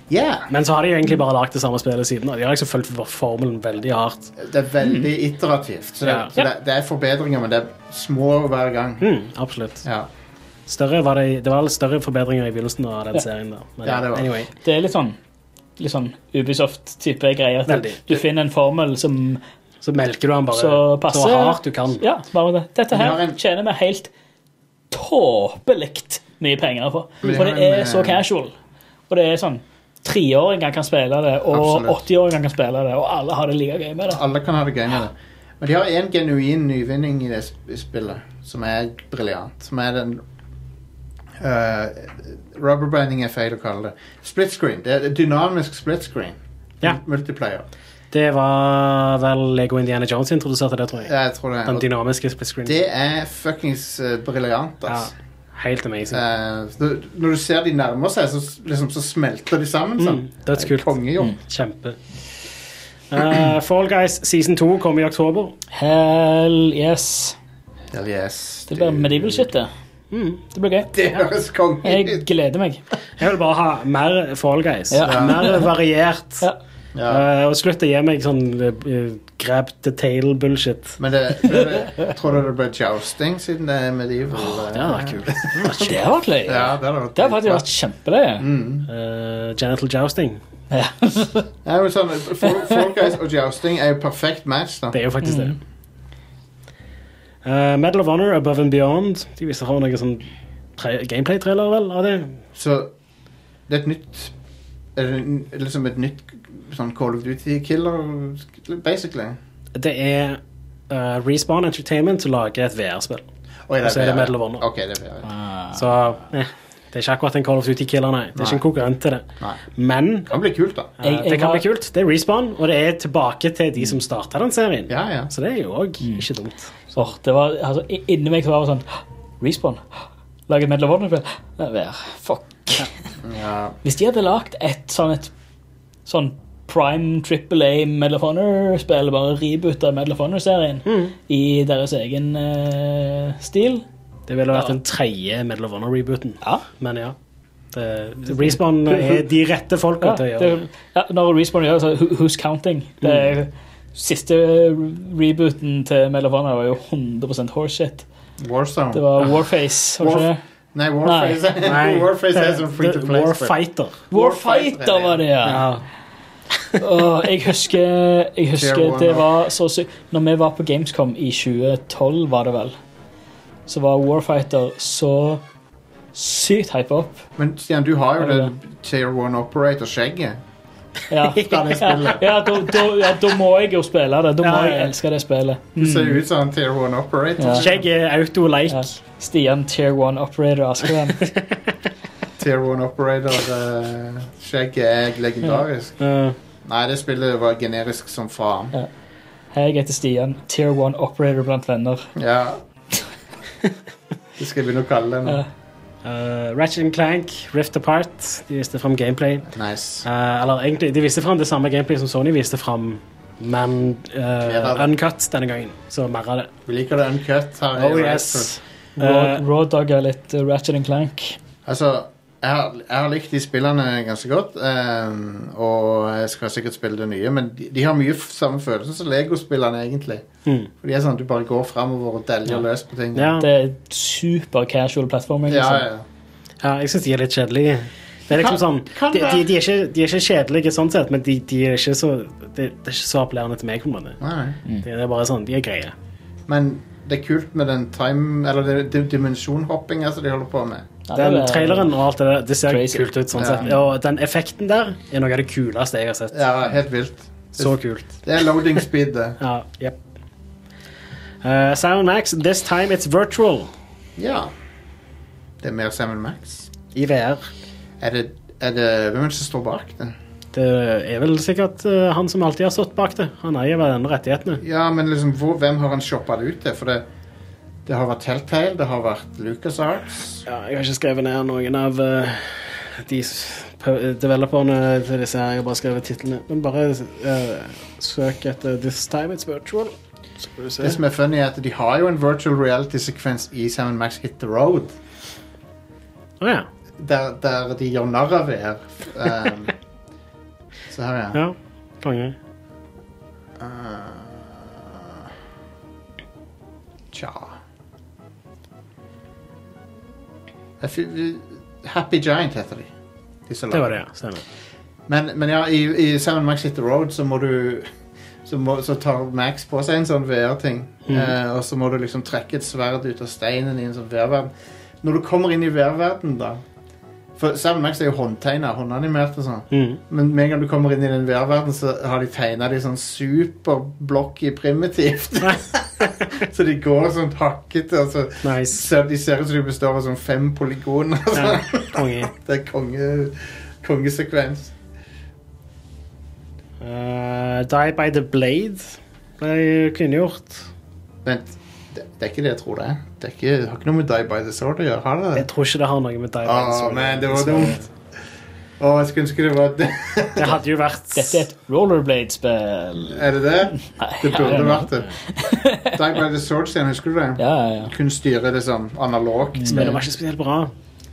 S1: Yeah!
S2: men så har de jo egentlig bare lagd det samme spillet siden. Og de har liksom fulgt formelen veldig hardt.
S1: Det er veldig iterativt. Så, det,
S2: Mm. Ja.
S1: så det, det er forbedringer, men det er små hver gang.
S2: Mm, absolutt.
S1: Ja.
S2: Større var det, det var vel større forbedringer i begynnelsen av den
S3: Ja.
S2: serien. der. Men,
S1: Ja, det var.
S2: Anyway.
S3: Det er litt sånn, litt sånn Ubisoft-type greier. at
S2: Veldig.
S3: Du finner en formel som
S2: Så melker du han bare så,
S3: så passer.
S2: hardt du kan.
S3: Ja, bare det. Dette
S1: Men vi
S3: her
S1: har en-
S3: tjener vi helt tåpelikt mye penger på.
S1: Men vi
S3: For
S1: har
S3: det
S1: en,
S3: er
S1: eh,
S3: så casual. Og det er sånn Treåringer kan spille det, og
S1: Absolutt.
S3: 80-åringer kan spille det, og alle har det like gøy med det.
S1: Alle kan ha det gøy med det. Men de har én genuin nyvinning i det sp- spillet, som er briljant. Som er den eh, Rubberbanding er feil å kalle det. Split screen. Det er dynamisk split screen.
S2: Ja.
S1: Multiplayer.
S2: Det var vel Lego Indiana Jones introduserte det, tror jeg.
S1: Ja, jeg tror det.
S2: Den
S1: Og
S2: dynamiske split screen.
S1: det er fuckings eh, briljant,
S2: Ja,
S1: ass.
S2: helt amazing.
S1: Eh, når- når du ser de nærmer seg, så, s- liksom, så smelter de sammen. Sånn.
S2: Mm, that's good.
S1: Kongejobb.
S2: Kjempe. Eh, Fall Guys season 2 kommer i oktober.
S3: Hell yes.
S1: Hell yes.
S3: Det blir
S1: dude.
S3: medieval shit, det.
S2: Mm.
S3: Det blir gøy.
S1: Det høres konge
S3: Jeg
S1: ut.
S3: gleder meg.
S2: Jeg vil bare ha mer Fall Guys.
S3: Ja.
S2: Mer variert.
S3: Ja.
S1: Ja.
S2: Eh, og slutt å gi meg sånn eh, grab the tail-bullshit.
S1: Men det, det, det, tror du det ble jousting siden det er medieval? eh?
S2: Det hadde vært kult.
S3: Det har vært løye.
S1: Ja, det hadde vært
S3: Det har faktisk vært kjempeløye.
S2: Eh, genital jousting.
S1: Ja, men sånn, Fall Fall Guys og jousting er jo perfekt match. da
S2: Det er jo faktisk det. Eh, Medal of Honor Above and Beyond. De viser har noen sånn tra- gameplay-trailer vel av det.
S1: Så det er et nytt er det n- liksom et nytt sånn Call of Duty-killer, basically.
S2: Det er eh, Respawn Entertainment som lager et VR-spill.
S1: Oi,
S2: Og så er det
S1: VR.
S2: Medal of Honor.
S1: Ok, det er VR.
S3: Ah.
S2: Så eh, det er ikke akkurat en Call of Duty-killer, nei. Det er ikke en konkurrent til det.
S1: Nei.
S2: Men
S1: Det kan bli kult, da.
S2: eh,
S3: Jeg- jeg
S2: det kan
S3: var-
S2: bli kult. Det er Respawn, og det er tilbake til de som starta den serien.
S1: Ja, ja.
S2: Så det er jo òg ikke dumt.
S3: Åh, det var, altså, i- inni meg så var det sånn Respawn. Lage Medal of Honor-spill. Vær, Fuck.
S1: Ja.
S3: Hvis de hadde lagd et sånn et sånn prime triple A Medal of Honor-spill, bare reboot av Medal of Honor-serien i deres egen eh, stil
S2: Det ville vært
S3: Ja.
S2: den tredje Medal of Honor-rebooten.
S3: Ja.
S2: Men ja. Det, Respawn er de rette folka
S3: Ja,
S2: til å gjøre det.
S3: det- ja, når Respawn gjør det, så who- Who's Counting? Det er, Siste rebooten til Medal of Honor var jo 100 horseshit.
S1: Warzone.
S3: Det var Warface. Var det ikke det?
S1: Nei, Warface,
S2: Nei.
S1: Warface er sånn free to play.
S2: Warfighter.
S3: Warfighter var det, ja.
S2: Ja.
S3: Åh, jeg husker, jeg
S1: Tier
S3: husker
S1: one,
S3: det
S1: da.
S3: var så sykt Når vi var på Gamescom i 2012, var det vel, så var Warfighter så sykt hypa opp.
S1: Men Stian, du har jo
S3: Ja,
S1: det
S3: ja.
S1: Tier 1 Operator-skjegget.
S3: Ja,
S1: Da det spillet.
S3: ja, da, da, ja da må jeg jo spille det. Da må
S2: Ja, ja.
S3: jeg elske det spillet. Mm.
S1: Du ser jo ut som en Tier 1 Operator.
S3: Ja.
S2: Mm. Skjegg er auto-like.
S3: Ja. Stian Tier 1 Operator Askeland.
S1: Tier 1 Operator-skjegget er legendarisk.
S2: Eh,
S1: Nei, det spillet var generisk som faen.
S3: Hei, jeg heter Stian. Tier 1 Operator blant venner.
S1: Ja. Det skal jeg begynne å kalle det nå.
S3: Ja.
S2: eh, Ratchet and Clank, Rift Apart. De viste fram gameplay.
S1: Nice.
S2: Eh, eller egentlig, de viste fram det samme gameplay som Sony viste fram, men eh,
S1: av det.
S2: uncut denne gangen. Så mer av det.
S1: Vi liker det uncut her. i
S2: Oh
S1: Retro.
S2: yes.
S3: Raw,
S2: Eh,
S3: raw Dog er litt eh, Ratchet and Clank.
S1: Altså, jeg har, jeg har likt de spillene ganske godt, ehm, og jeg skal sikkert spille det nye, men de, de har mye f samme følelse som Lego-spillene, egentlig.
S2: Mm.
S1: For de er sånn at du bare går framover og deljer
S3: Ja.
S1: løs på ting.
S2: ja.
S3: Det er super casual platforming.
S1: ja,
S3: Liksom.
S1: ja.
S2: Ja, jeg syns de er litt kjedelige. Det er liksom sånn,
S1: kan
S2: de,
S1: det-
S2: de, de, er ikke, de er ikke kjedelige sånn sett, men de, de er ikke så, det, det er ikke så appellerende til meg. på en måte.
S1: Nei, nei.
S2: Det er bare sånn, De er greie.
S1: Men det er kult med den time, eller det- det- dimensjonhoppinga som de holder på med.
S3: Ja, det
S2: Den
S3: er- eh,
S2: traileren og alt det der, det ser
S3: Crazy.
S2: kult ut. sånn
S1: Ja.
S2: sett. Og den effekten der er noe av det kuleste jeg har sett.
S1: Ja, helt vilt.
S2: Så kult.
S1: Det er loading speed, det.
S2: Ja, yep. uh, Simon Max, This Time It's Virtual
S1: Ja. Det er mer Sam Max.
S2: i VR.
S1: Er det, er det Hvem er det som står bak det?
S2: Det er vel sikkert eh, han som alltid har stått bak det. Han eier vel den rettighetene.
S1: Ja, men liksom, hvor, hvem har han shoppa det ut til? For det, det har vært Telltale, det har vært LucasArts
S2: Ja, jeg har ikke skrevet ned noen av eh, de s- p- developerne til disse her. Jeg har bare skrevet titlene. Men bare eh, søk etter This Time It's Virtual. Så får du se.
S1: Det som er funny, er at de har jo en virtual reality-sekvens i Sam Max Hit The Road,
S2: Å, ja.
S1: der, der de gjør narr av VR. Um, så her, ja.
S2: ja. Konge.
S1: Tja Jeg fi- Happy Giant heter de. de som
S2: Det
S1: lager
S2: var det, ja. Stemmer.
S1: Men, men ja, i, i Sam Max Hit The Road så må du så, må, så tar Max på seg en sånn VR-ting.
S2: Mm.
S1: Eh, og så må du liksom trekke et sverd ut av steinen i en sånn VR-verden. Når du kommer inn i VR-verden da For Sam Max er jo håndtegna, håndanimert og sånn.
S2: Mm.
S1: Men med en gang du kommer inn i den VR-verden, så har de tegna de sånn superblocky primitivt. så de går sånn hakkete, og så
S2: Nice.
S1: ser, de ser ut som de består av sånn fem polygoner. sånn.
S2: Ja, konge.
S1: Det er konge, kongesekvens.
S2: Eh, Die by the Blade ble kunngjort.
S1: Vent, det, det er ikke det jeg tror det er. Det, er ikke, det har ikke noe med Die by the Sword å gjøre, har det?
S2: Jeg tror ikke det har noe med Die by the
S1: Åh,
S2: Sword
S1: man, Ah, det var dumt. Å, jeg skulle ønske det var det.
S2: Det hadde jo vært
S3: Dette er et rollerblade-spill.
S1: Er det det? Det
S3: I
S1: burde
S3: don't
S1: vært det. Die by the Sword, Stian, husker du det?
S3: Ja, ja, ja.
S1: Kun styre det sånn analogt.
S2: Men det var ikke spesielt bra.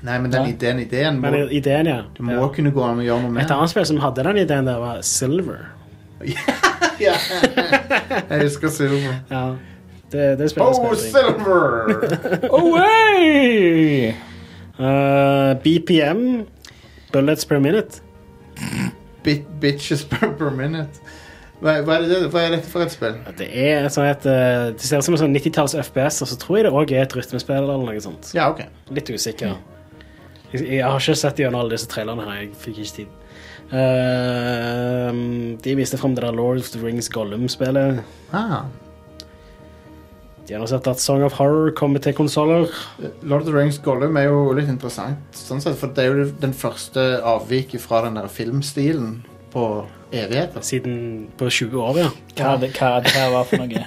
S1: Nei, men den
S3: Nei.
S1: ideen, ideen må,
S2: Men ideen, ja.
S1: det må
S2: ja.
S1: kunne gå an å gjøre noe med.
S2: Et annet spill som hadde den ideen der, var Silver.
S1: Ja. Jeg husker Silver.
S2: Ja. Det, det spillet
S1: Oh,
S2: spilte jeg.
S1: Silver!
S3: Away!
S2: Eh, BPM, Bullets Per Minute.
S1: Bit, bitches per, per minute. Hva, hva, er det, hva er dette for et spill?
S2: Det er sånn et, eh, det ser ut som en sånn 90-talls FPS, og så tror jeg det òg er et rytmespill eller noe sånt.
S1: Ja, ok.
S2: Litt usikker. Jeg, jeg har ikke sett gjennom alle disse trailerne her. Jeg fikk ikke tid. Ehm, de viste fram det der Lord of the Rings Gollum-spillet.
S1: Ah,
S2: De har nå sett at Song of Horror kommer til konsoller.
S1: Lord of the Rings Gollum er jo litt interessant, sånn sett, for det er jo den første avviket fra den der filmstilen på evigheter.
S2: Siden på 20 år, ja.
S3: Hva, det- hva det her var for noe?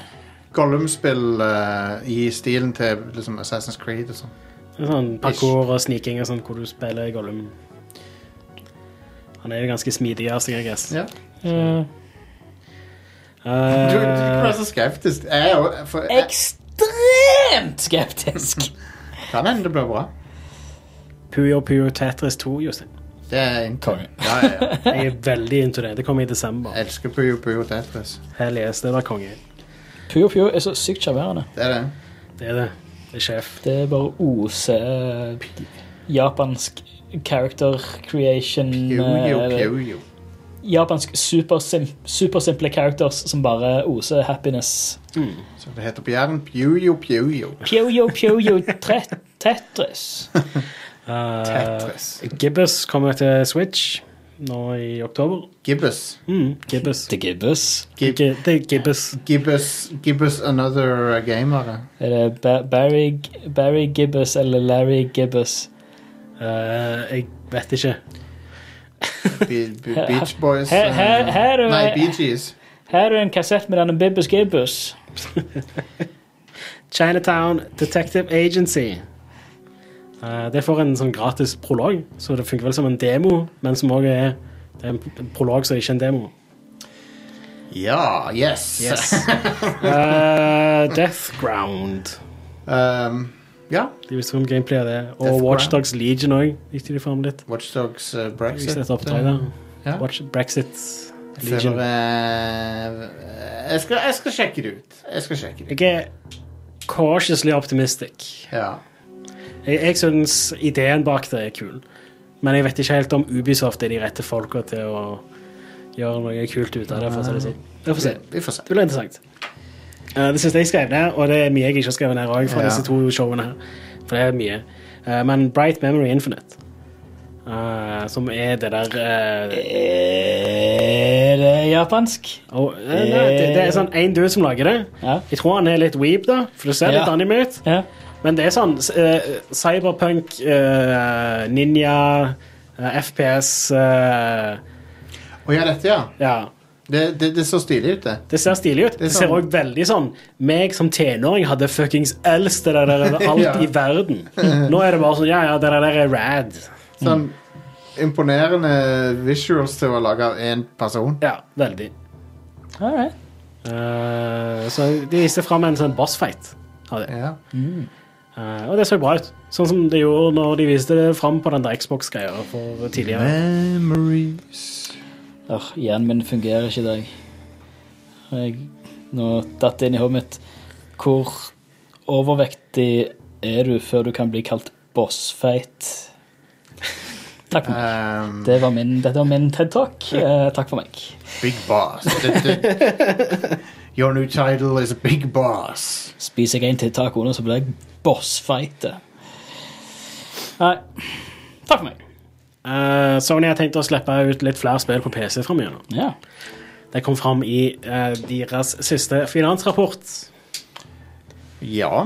S1: Gollum-spill eh, i stilen til liksom, Assassin's Creed og sånn.
S2: Det er Sånn parkour og sniking og sånn, hvor du spiller Gollum. Han er jo ganske smidig av seg, jeg guess.
S1: Ja.
S3: Eh,
S1: Du,
S2: Eh,
S1: du kan være så skeptisk. Jeg, er jo- for, jeg,
S3: ekstremt skeptisk.
S1: kan hende det blir bra.
S2: Puyo Puyo Tetris 2, Jostein.
S1: Det er en
S3: Konge.
S1: Ja, ja, ja.
S2: Jeg er veldig into det. Det kommer i desember.
S1: Jeg elsker Puyo Puyo Tetris.
S2: Hell yes, det var konge.
S3: Puyo Puyo er så sykt sjarmerende.
S1: Det er det.
S2: Det er det. Det er sjef.
S3: Det er bare oser japansk character creation
S1: Puyo
S3: eh,
S1: Puyo.
S3: Japansk supersim, supersimple characters som bare oser happiness.
S1: Så det heter på jæren Puyo Puyo.
S3: Puyo Puyo tre- Tetris.
S2: Eh,
S1: Tetris.
S2: Gibbous kommer til Switch nå i oktober.
S1: Gibbous.
S2: Mm, Gibbous.
S3: The Gibbous.
S2: Gi-
S1: Gib
S2: Det er Gibbous.
S1: Gibbous, Gibbous another uh, gamer.
S3: Er det ba Barry, G- Barry Gibbous eller Larry Gibbous?
S2: Eh, jeg vet ikke.
S1: Be be Beach Boys.
S3: Her- her-
S1: eh,
S3: her er-
S1: nei, Bee Gees.
S3: Her er en kassett med denne Bibbus Gibbous.
S2: Chinatown Detective Agency. Eh, det får en sånn gratis prolog, så det funker vel som en demo, men som også er det er en en prolog som ikke er en demo.
S1: Ja, yes!
S2: Eh, Death Ground.
S1: um, ja,
S2: De visste om gameplay av det.
S1: Death
S2: Og Watch
S1: Ground.
S2: Dogs Legion òg. Gikk de fram litt?
S1: Watchdogs uh,
S2: De
S1: Brexit.
S2: Viste et oppdrag der.
S1: Ja.
S2: Watch Brexit
S1: Jeg
S2: Legion.
S1: føler, eh, jeg, skal, jeg skal sjekke det ut. Jeg skal sjekke det ut.
S2: Jeg er cautiously optimistic.
S1: Ja.
S2: Jeg, jeg syns ideen bak det er kul, men jeg vet ikke helt om Ubisoft er de rette folka til å gjøre noe kult ut av det. for å si det sånn. Vi får se.
S1: Vi får se.
S2: Det blir interessant. Eh, det syns jeg jeg skrev ned, og det er mye jeg ikke har skrevet ned også fra
S1: Ja.
S2: disse to showene her. For det er mye. Eh, men Bright Memory Infinite, eh, som er det der eh,
S3: Er det japansk?
S2: og, eh, nei, det, det er sånn én dude som lager det.
S3: Ja.
S2: Jeg tror han er litt weeb, da, for det ser
S3: Ja.
S2: litt anime ut.
S3: ja.
S2: Men det er sånn eh, cyberpunk, eh, ninja, eh, FPS eh,
S1: Å ja, dette, ja.
S2: Ja.
S1: Det, det, det så stilig ut, det.
S2: Det ser stilig ut.
S1: er
S2: Det ser
S1: sånn-
S2: òg veldig sånn Meg som tenåring hadde fuckings eldst det der over alt
S1: Ja.
S2: i verden. Nå er det bare sånn Ja, ja, det der er rad.
S1: Sånn imponerende visuals til å lage av én person.
S2: Ja, veldig.
S3: All right.
S2: Eh, så de viste fram en sånn bossfight av det.
S1: Ja.
S2: Eh, og det så bra ut. Sånn som det gjorde når de viste det fram på den der Xbox-greia for tidligere.
S1: Memories
S3: Åh, hjernen min fungerer ikke i dag. Jeg, nå datt det inn i hodet mitt. Hvor overvektig er du før du kan bli kalt bossfeit? Takk for meg.
S1: um,
S3: Det var min, dette var min TED-talk. Eh, takk for meg.
S1: Big boss. Det- det- Your new title is Big Boss.
S3: Spiser jeg en til taco nå, så blir jeg bossfeite. Nei. Takk for meg.
S2: Eh, Sony har tenkt å slippe ut litt flere spill på PC framover.
S3: Ja.
S2: Det kom fram i eh, deres siste finansrapport.
S1: Ja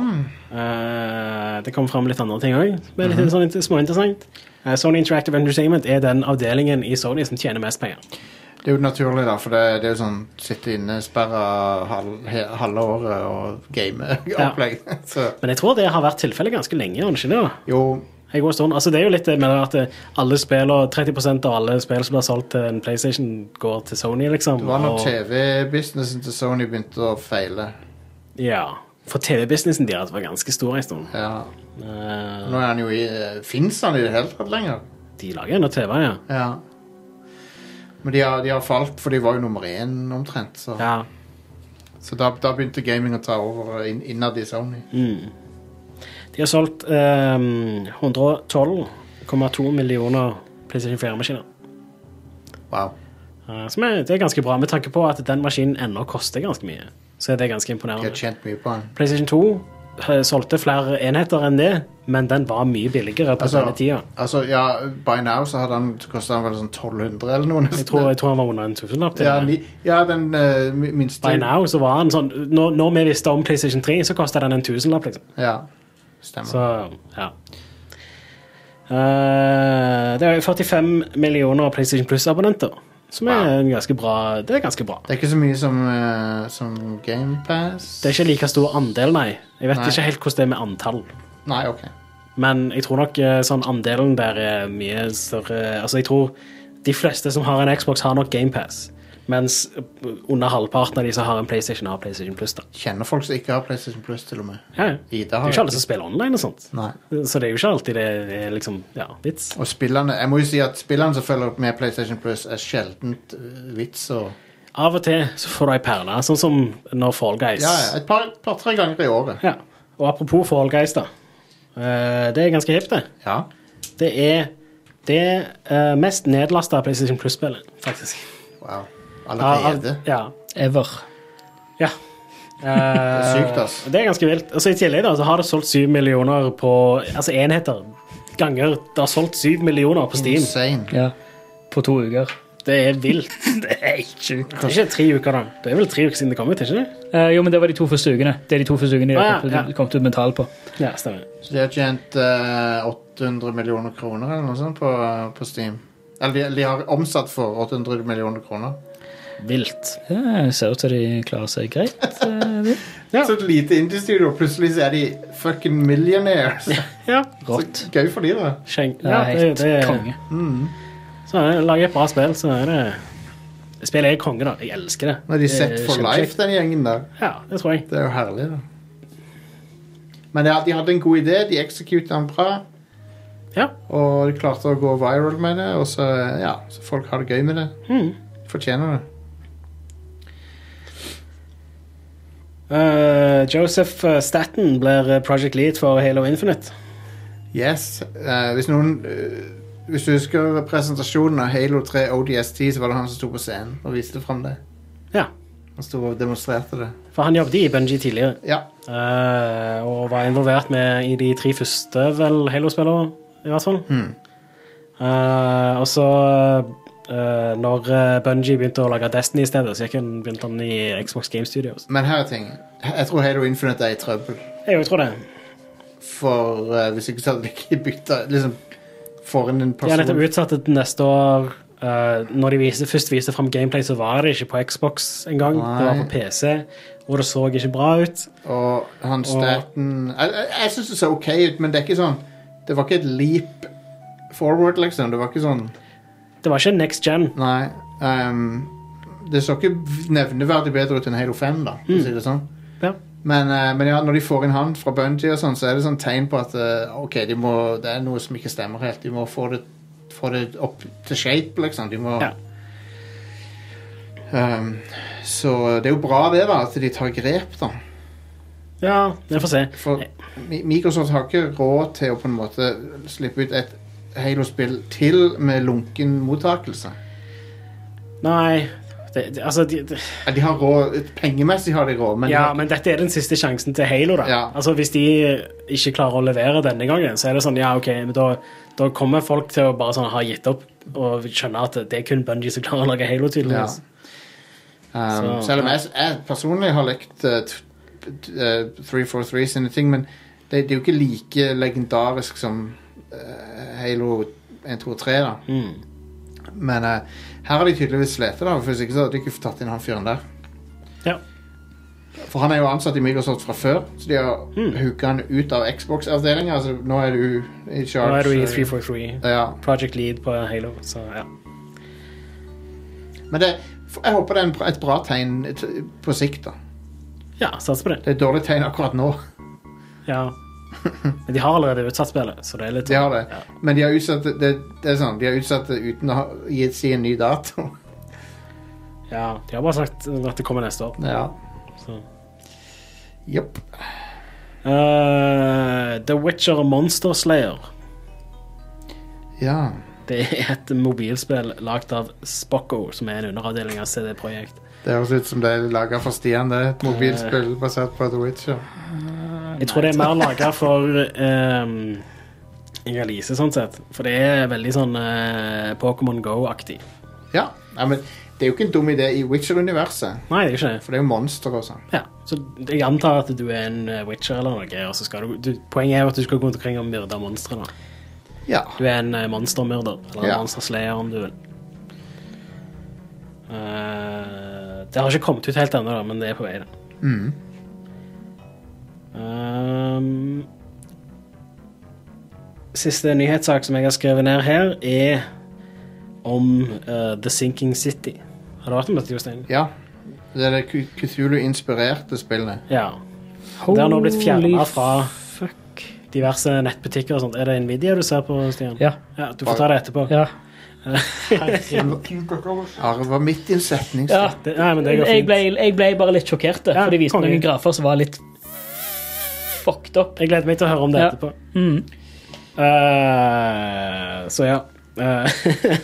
S2: Eh, det kom fram litt andre ting òg. Litt sånn inter- småinteressant. Eh, Sony Interactive Entertainment er den avdelingen i Sony som tjener mest penger.
S1: Det er jo naturlig, da, for det, det er jo sånn sitte innesperra halv, he- halve året og game-opplegg. Så
S2: Men jeg tror det har vært tilfellet ganske lenge. har det Ikke det, da?
S1: jo,
S2: Jeg går sånn. altså, det er jo litt det med det at eh, alle spill og 30 av alle spill som blir solgt til en PlayStation, går til Sony, liksom.
S1: det var når
S2: og-
S1: TV-businessen til Sony begynte å feile.
S2: Ja. For TV-businessen deres var ganske stor en stund.
S1: Ja.
S2: Eh,
S1: Nå er han jo i eh, Fins han i det hele tatt lenger?
S2: de lager ennå TV, ja.
S1: Ja. Men de har, de har falt, for de var jo nummer én omtrent. Så,
S2: ja.
S1: så da, da begynte gaming å ta over inn, innad i Sony.
S2: De har solgt eh, 112,2 millioner PlayStation 4-maskiner.
S1: Wow.
S2: Eh, som er, det er ganske bra, med tanke på at den maskinen ennå koster ganske mye. Så er det ganske
S1: De har
S2: imponerende.
S1: tjent mye på han.
S2: PlayStation 2 eh, solgte flere enheter enn det, men den var mye billigere på
S1: Altså-
S2: denne tida.
S1: Altså, ja, by now så hadde han kostet han vel sånn 1200 eller noe. nesten.
S2: Jeg tror, jeg tror han var under en tusenlapp. til
S1: ja,
S2: det.
S1: ni, ja, den eh, mi- minste
S2: By now så var han sånn Når, når vi visste om PlayStation 3, så kosta den en tusenlapp, liksom.
S1: Ja, stemmer.
S2: Så, ja. Eh, det er jo 45 millioner PlayStation Plus-abonnenter. Som er
S1: Wow.
S2: en ganske bra Det er ganske bra.
S1: Det er ikke så mye som, eh, som GamePass.
S2: Det er ikke like stor andel, nei. Jeg vet
S1: Nei.
S2: ikke helt hvordan det er med antall.
S1: Nei, OK.
S2: Men jeg tror nok eh, sånn andelen der er mye større Altså, jeg tror de fleste som har en Xbox, har nok GamePass. Mens under halvparten av de som har en PlayStation, har PlayStation Plus. da.
S1: Kjenner folk som ikke har PlayStation Plus, til og med.
S2: Ja, ja.
S1: Ida
S2: Det er
S1: har
S2: jo ikke alle som spiller online og sånt.
S1: Nei.
S2: Så det er jo ikke alltid det er liksom, ja, vits.
S1: Og spillerne Jeg må jo si at spillerne som følger opp med PlayStation Plus, er sjeldent eh, vits og
S2: Av og til så får du ei perle, sånn som når Fall Guys.
S1: Ja, ja, et par- par-tre ganger i året.
S2: Ja. Og apropos Fall Guys, da. Eh, det er ganske hipt, det.
S1: Ja.
S2: Det er det eh, mest nedlasta PlayStation Plus-spillet, faktisk.
S1: Wow.
S2: Ja,
S1: Allerede.
S2: ja.
S3: Ever.
S2: ja. Eh,
S1: Sykt, ass.
S2: Det er ganske vilt. Altså, I tillegg da, så har det solgt syv millioner på Altså enheter. Ganger. Det har solgt syv millioner på Steam.
S1: Insane.
S3: Ja. På to uker.
S2: Det er vilt.
S3: Det er helt sjukt.
S2: Det er ikke tre uker, da. Det er vel tre uker siden det kom ut? ikke det?
S3: Eh, jo, men det var de to første ukene. Det er de to første ukene de
S2: Ah, ja,
S3: har kommet-
S2: ja.
S3: kommet ut med tall på.
S2: Ja, stemmer.
S1: Så de har tjent eh, 800 millioner kroner eller noe sånt på, på Steam. Eller de, de har omsatt for 800 millioner kroner.
S2: Vilt.
S3: Ja, det ser ut til de klarer seg greit. eh, de.
S2: Ja.
S1: Så et lite indie-studio, og plutselig så er de fucking millionaires.
S2: Ja.
S3: Rått.
S1: Gøy for de, da.
S2: Skjeng.
S3: Det er helt konge.
S2: Mm. Så er det- lager jeg et bra spill, så er det Spillet er konge, da. Jeg elsker det.
S1: Nå er de
S2: Det er
S1: set for
S2: kjempekjekt.
S1: life, den gjengen der.
S2: Ja, det tror jeg.
S1: Det er jo herlig, da. Men ja, de hadde en god idé, de executa den bra,
S2: Ja.
S1: og de klarte å gå viral med det, og så, ja, så folk har det gøy med det.
S2: Mm.
S1: Fortjener det.
S2: Eh, Joseph eh, Staten blir eh, Project Lead for Halo Infinite.
S1: Yes. eh, hvis noen eh, Hvis du husker presentasjonen av Halo 3 ODST, så var det han som sto på scenen og viste fram det.
S2: Ja,
S1: Han sto og demonstrerte det.
S2: for han jobbet i Bungie tidligere.
S1: Ja.
S2: eh, og var involvert med i de tre første vel Halo-spillene, i hvert fall.
S1: Mm.
S2: Eh, og så eh, når eh, Bungie begynte å lage Destiny i stedet, så gikk han, begynte han i Xbox Game Studios.
S1: Men her er ting. Jeg tror Halo Infinite er i trøbbel.
S2: Jeg tror det.
S1: For eh, hvis ikke så hadde de ikke bytta liksom, For en
S2: De har
S1: person
S2: nettopp utsatt det til neste år. Eh, når de viser, først viste fram gameplay, så var det ikke på Xbox engang. Det var
S1: Nei.
S2: på PC, og det så ikke bra ut.
S1: Og han Staten Jeg, jeg, jeg syns det ser OK ut, men det er ikke sånn Det var ikke et leap forward, liksom. Det var ikke sånn
S2: Det var ikke next gen.
S1: Nei. ehm, det så ikke nevneverdig bedre ut enn Halo 5, da, for å si det sånn.
S2: Mm. Ja.
S1: Men, eh, men ja, når de får inn han fra Bungie og sånn, så er det sånn tegn på at eh, OK, de må, det er noe som ikke stemmer helt. De må få det, få det opp til shape, liksom. De må
S2: Ja.
S1: Ehm, Så det er jo bra det, da, at de tar grep, da.
S2: Ja, vi får se.
S1: For Mi- Microsoft har ikke råd til å på en måte slippe ut et Halo-spill til med lunken mottakelse.
S2: Nei det, det, Altså, de, de,
S1: Ja, De har råd, Pengemessig har de råd, men, de
S2: ja,
S1: har,
S2: men dette er den siste sjansen til Halo, da.
S1: Ja.
S2: Altså, hvis de ikke klarer å levere denne gangen, så er det sånn, ja, OK, men da, da kommer folk til å bare sånn ha gitt opp og skjønne at det er kun Bungie som klarer å lage Halo, tydeligvis.
S1: um,
S2: Så-
S1: Selv om jeg, jeg personlig har lekt eh, t- t- eh, 343 sine ting, men det, det er jo ikke like legendarisk som eh, Halo 1, 2, 3, da.
S2: Mm.
S1: Men eh, her har de tydeligvis slitt, da, for hvis ikke så hadde de ikke tatt inn han fyren der.
S2: Ja.
S1: For han er jo ansatt i Microsoft fra før, så de har
S2: Hmm.
S1: mm. hooka han ut av Xbox-avdelinga. Altså, nå er du i
S2: Nå
S1: charge.
S2: er du i
S1: så-
S2: 343.
S1: Ja.
S2: Project Lead på Halo, så ja.
S1: Men det, jeg håper det er en, bra- et bra tegn t- på sikt, da.
S2: Ja, sats på det.
S1: Det er et dårlig tegn akkurat nå.
S2: Ja. Men de har allerede utsatt spillet, så det er litt sånn-
S1: De har det.
S2: Ja.
S1: Men de har utsatt det, det er sånn, de har utsatt det uten å ha, gi si en ny dato.
S2: ja, de har bare sagt at det kommer neste år.
S1: Ja.
S2: Så.
S1: Jepp.
S2: Eh, The Witcher Monster Slayer.
S1: Ja.
S2: Det er et mobilspill lagd av Spocko, som er en underavdeling av CD Projekt.
S1: Det høres ut som det er laga for Stian,
S2: Eh.
S1: det. er Et mobilspill basert på The Witcher. Ah,
S2: Jeg tror det er mer laga for ehm, release, sånn sett. For det er veldig sånn eh, Pokémon Go-aktig.
S1: Ja. Nei, men det er jo ikke en dum idé i Witcher-universet,
S2: Nei, det er ikke det.
S1: for det er jo monstre og sånn.
S2: Ja, så jeg antar at du er en eh, witcher eller noe, og så skal du, du Poenget er jo at du skal gå rundt omkring og myrde monstre, da.
S1: Ja.
S2: Du er en eh, monstermyrder, eller
S1: Ja.
S2: en monsterslayer, om du vil. Eh, det har ikke kommet ut helt ennå, da, men det er på vei. da.
S1: Mm.
S2: Um, siste nyhetssak som jeg har skrevet ned her, er om eh, The Sinking City. Har du hørt om dette, Jostein?
S1: ja. Det er det Cu- Cthulhu-inspirerte spillet.
S2: Ja. Det har nå blitt fjerna
S3: Holy
S2: fra
S3: Fuck.
S2: diverse nettbutikker og sånt. Er det Nvidia du ser på, Stian?
S3: Ja.
S2: Ja, du får ta det etterpå.
S3: ja.
S1: Arva midt i en setning.
S3: ja.
S1: så-
S2: Det, nei, men det går
S3: Jeg,
S2: fint.
S3: ble, jeg ble bare litt sjokkert,
S2: Ja,
S3: for de viste
S2: konge.
S3: noen grafer som var litt fucked up.
S2: Jeg gleder meg til å høre om det
S3: Ja.
S2: etterpå.
S3: Mm.
S2: Eh, så ja. Eh,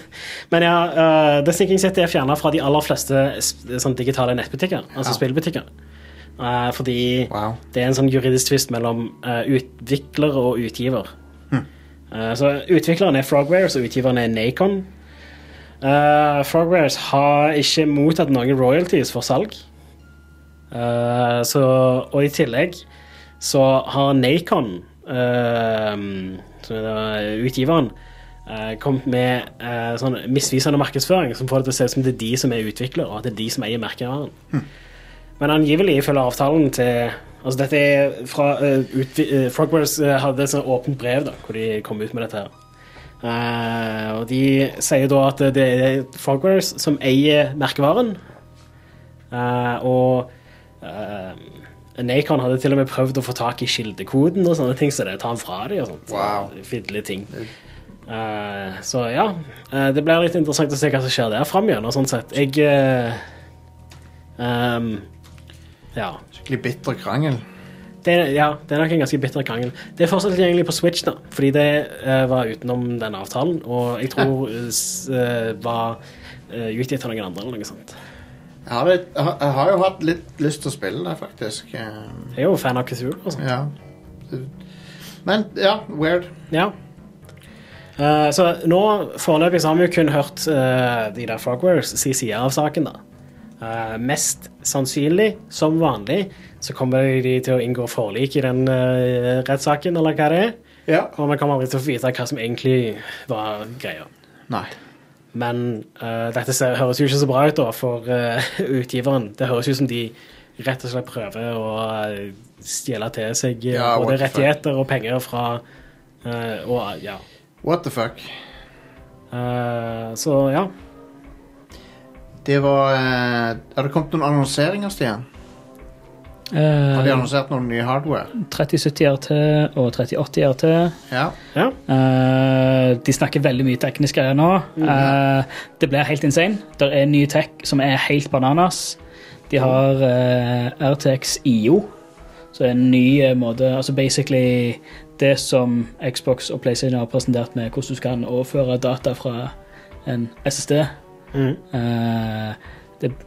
S2: men ja, eh, The Sinking City er fjerna fra de aller fleste sp- sånn digitale nettbutikker, altså spillbutikker. Eh, fordi
S1: Wow.
S2: det er en sånn juridisk tvist mellom eh, utvikler og utgiver. Eh, så utvikleren er Frogwares, og utgiveren er Nacon. Eh, Frogwares har ikke mottatt noen royalties for salg. Eh, så, og i tillegg så har Nacon, eh, som er da utgiveren, eh, kommet med eh, sånn misvisende markedsføring som får det til å se ut som det er de som er utvikler, og at det er de som eier merkevaren. Men angivelig ifølge avtalen til Altså dette er fra eh, utvi- eh, Frogwares eh, hadde et sånt åpent brev da, hvor de kom ut med dette her. Eh, og de sier da at det er Frogwares som eier merkevaren. Eh, og uh, Nacon hadde til og med prøvd å få tak i kildekoden og sånne ting, så det tar han fra dem og sånt.
S1: Wow.
S2: Fidle ting. Eh, så ja, eh, det blir litt interessant å se hva som skjer der framgjennom, sånn sett. Jeg eh, ehm, ja.
S1: Skikkelig bitter krangel.
S2: Det, er- ja. Det er nok en ganske bitter krangel. Det er fortsatt tilgjengelig på Switch, da, fordi det eh, var utenom den avtalen, og jeg tror eh, s- eh, var eh, utgitt av noen andre eller noe sånt.
S1: Jeg har, litt, jeg har- jeg har jo hatt litt lyst til å spille det, faktisk. Eh,
S2: Jeg er jo fan av Kazoo og sånt.
S1: Ja. Men ja, weird.
S2: Ja. Eh, så nå, foreløpig, så har vi jo kun hørt eh, de der Frogwares si side av saken, da. Eh, mest sannsynlig, som vanlig, så kommer de til å inngå forlik i den eh, rettssaken, eller hva det er.
S1: Ja.
S2: Og vi kommer aldri til å få vite hva som egentlig var greia.
S1: Nei.
S2: Men eh, dette ser, høres jo ikke så bra ut da for eh, utgiveren. Det høres ut som de rett og slett prøver å eh, stjele til seg eh,
S1: Ja, what
S2: både
S1: the fuck.
S2: rettigheter og penger fra eh, Og ja.
S1: What the fuck.
S2: Eh, så ja.
S1: Det var eh, Har det kommet noen annonseringer, Stian? Har de
S3: Eh,
S1: annonsert noen nye hardware?
S3: 3070 RT og 3080 RT.
S1: Ja.
S2: ja.
S3: Eh, de snakker veldig mye teknisk greier nå.
S1: Mm.
S3: Eh, det blir helt insane. Det er ny tech som er helt bananas. De har eh, RTX IO, så er en ny eh, måte Altså basically det som Xbox og PlayStation har presentert med hvordan du kan overføre data fra en SSD. Mm.
S2: Mhm.
S3: Eh, det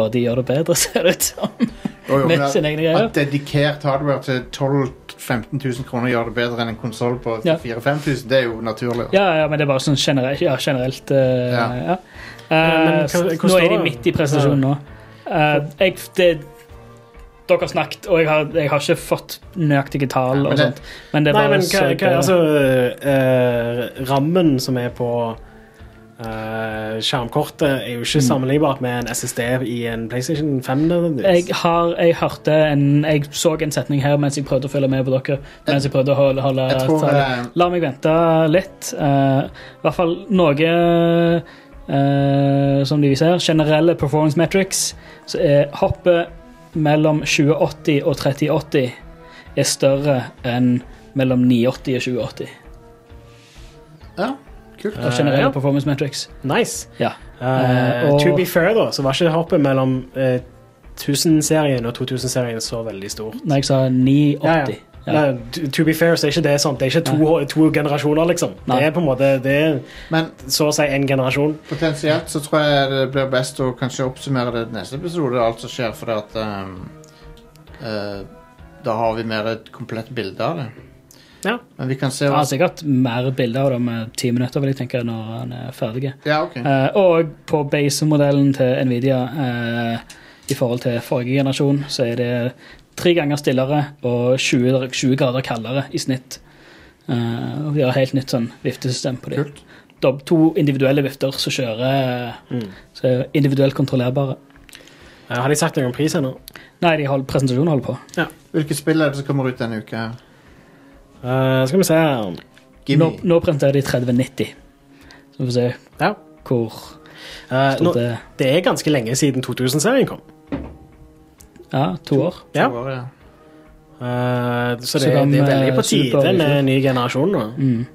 S3: Bare de gjør det bedre, ser det ut som.
S1: Jo, jo,
S3: Med
S1: men at-
S3: sine egne greier.
S1: At dedikert hardware til 12 000-15 000 kroner gjør det bedre enn en konsoll på
S3: Ja.
S1: 4000-5000, det er jo naturlig.
S3: Ja, ja, men det er bare sånn generelt. Ja, generelt eh,
S1: Ja.
S3: ja. Eh,
S2: Men- men hva- hva
S3: nå
S2: står
S3: er de
S2: det?
S3: midt i presentasjonen nå. Eh, jeg, det, dere har snakket, og jeg har, jeg har ikke fått nøyaktige tall
S1: Ja, men
S3: og
S1: det-
S3: sånt. Men det er
S2: Nei,
S3: bare
S2: men hva,
S3: så jeg-
S2: hva, altså eh, Rammen som er på Eh, Skjermkortet er jo ikke
S3: Mm.
S2: sammenlignbart med en SSD i en PlayStation 5. nødvendigvis.
S3: Jeg har, jeg hørte en, jeg så en setning her mens jeg prøvde å følge med på dere. Mens jeg prøvde å holde, holde
S1: Jeg tror,
S3: tale.
S1: eh,
S3: La meg vente litt. eh, I hvert fall noe eh, som de viser her. Generelle performance metrics. Så er hoppet mellom 2080 og 3080 er større enn mellom 980 og 2080.
S1: Ja, kult.
S3: Av
S2: Eh,
S3: generelle
S2: ja.
S3: performance metrics.
S2: Nice.
S3: Ja.
S2: Eh,
S3: Eh, og-
S2: to be fair, da, så var ikke hoppet mellom eh, 1000-serien og 2000-serien så veldig stor.
S3: Når jeg sa 980. Ja.
S2: Nei, to, to be fair, så er ikke det sånn. Det er ikke to, to generasjoner, liksom.
S3: Nei.
S2: Det er på en måte Det er
S1: Men
S2: så å si en generasjon.
S1: Potensielt så tror jeg det blir best å kanskje oppsummere det i neste episode, alt som skjer, for at ehm, eh, da har vi mer et komplett bilde av det.
S2: Ja.
S1: Men vi kan se
S3: Jeg
S1: hva
S3: har sikkert mer bilder av det med ti minutter, vil jeg tenke, når han er ferdig.
S1: Ja, ok.
S3: Eh, og på base-modellen til Nvidia eh, i forhold til forrige generasjon, så er det tre ganger stillere og 20, 20 grader kaldere i snitt. Eh, og de har helt nytt sånn viftesystem på dem.
S1: Kult.
S3: To individuelle vifter som kjører
S2: Mm.
S3: som er individuelt kontrollerbare.
S2: Eh, Har de sagt noe om pris ennå?
S3: Nei, de holder, presentasjonen holder på.
S1: Hvilke spill er det som kommer ut denne uka? her?
S2: Eh, skal vi se her
S1: Gimme.
S3: Nå, nå presenterer de 3090. Så får vi se
S2: Ja.
S3: hvor
S2: Eh,
S3: stort
S2: nå,
S3: det er.
S2: det er ganske lenge siden 2000-serien kom.
S3: Ja, to år.
S2: Ja.
S1: Tror jeg, ja.
S2: Eh, så det,
S3: Så kan,
S2: det er veldig på
S3: eh, Super
S2: tide med
S3: Mario Bros.
S2: en ny generasjon nå.
S3: Mm.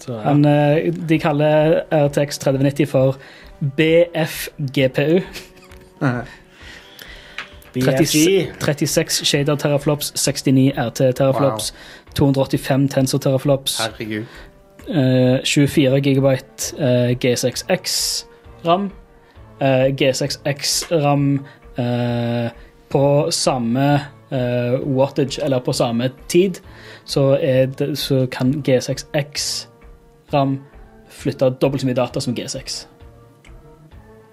S2: Så, ja.
S3: Han, eh, de kaller RTX 3090 for BFGPU.
S2: BFG.
S3: 36 shader teraflops, 69 RT teraflops, 285 tensor teraflops,
S1: Herregud.
S3: eh, 24 GB eh, G6X RAM. Eh, G6X RAM eh, på samme eh, wattage, eller på samme tid, så, er det, så kan G6X RAM flytte dobbelt så mye data som G6.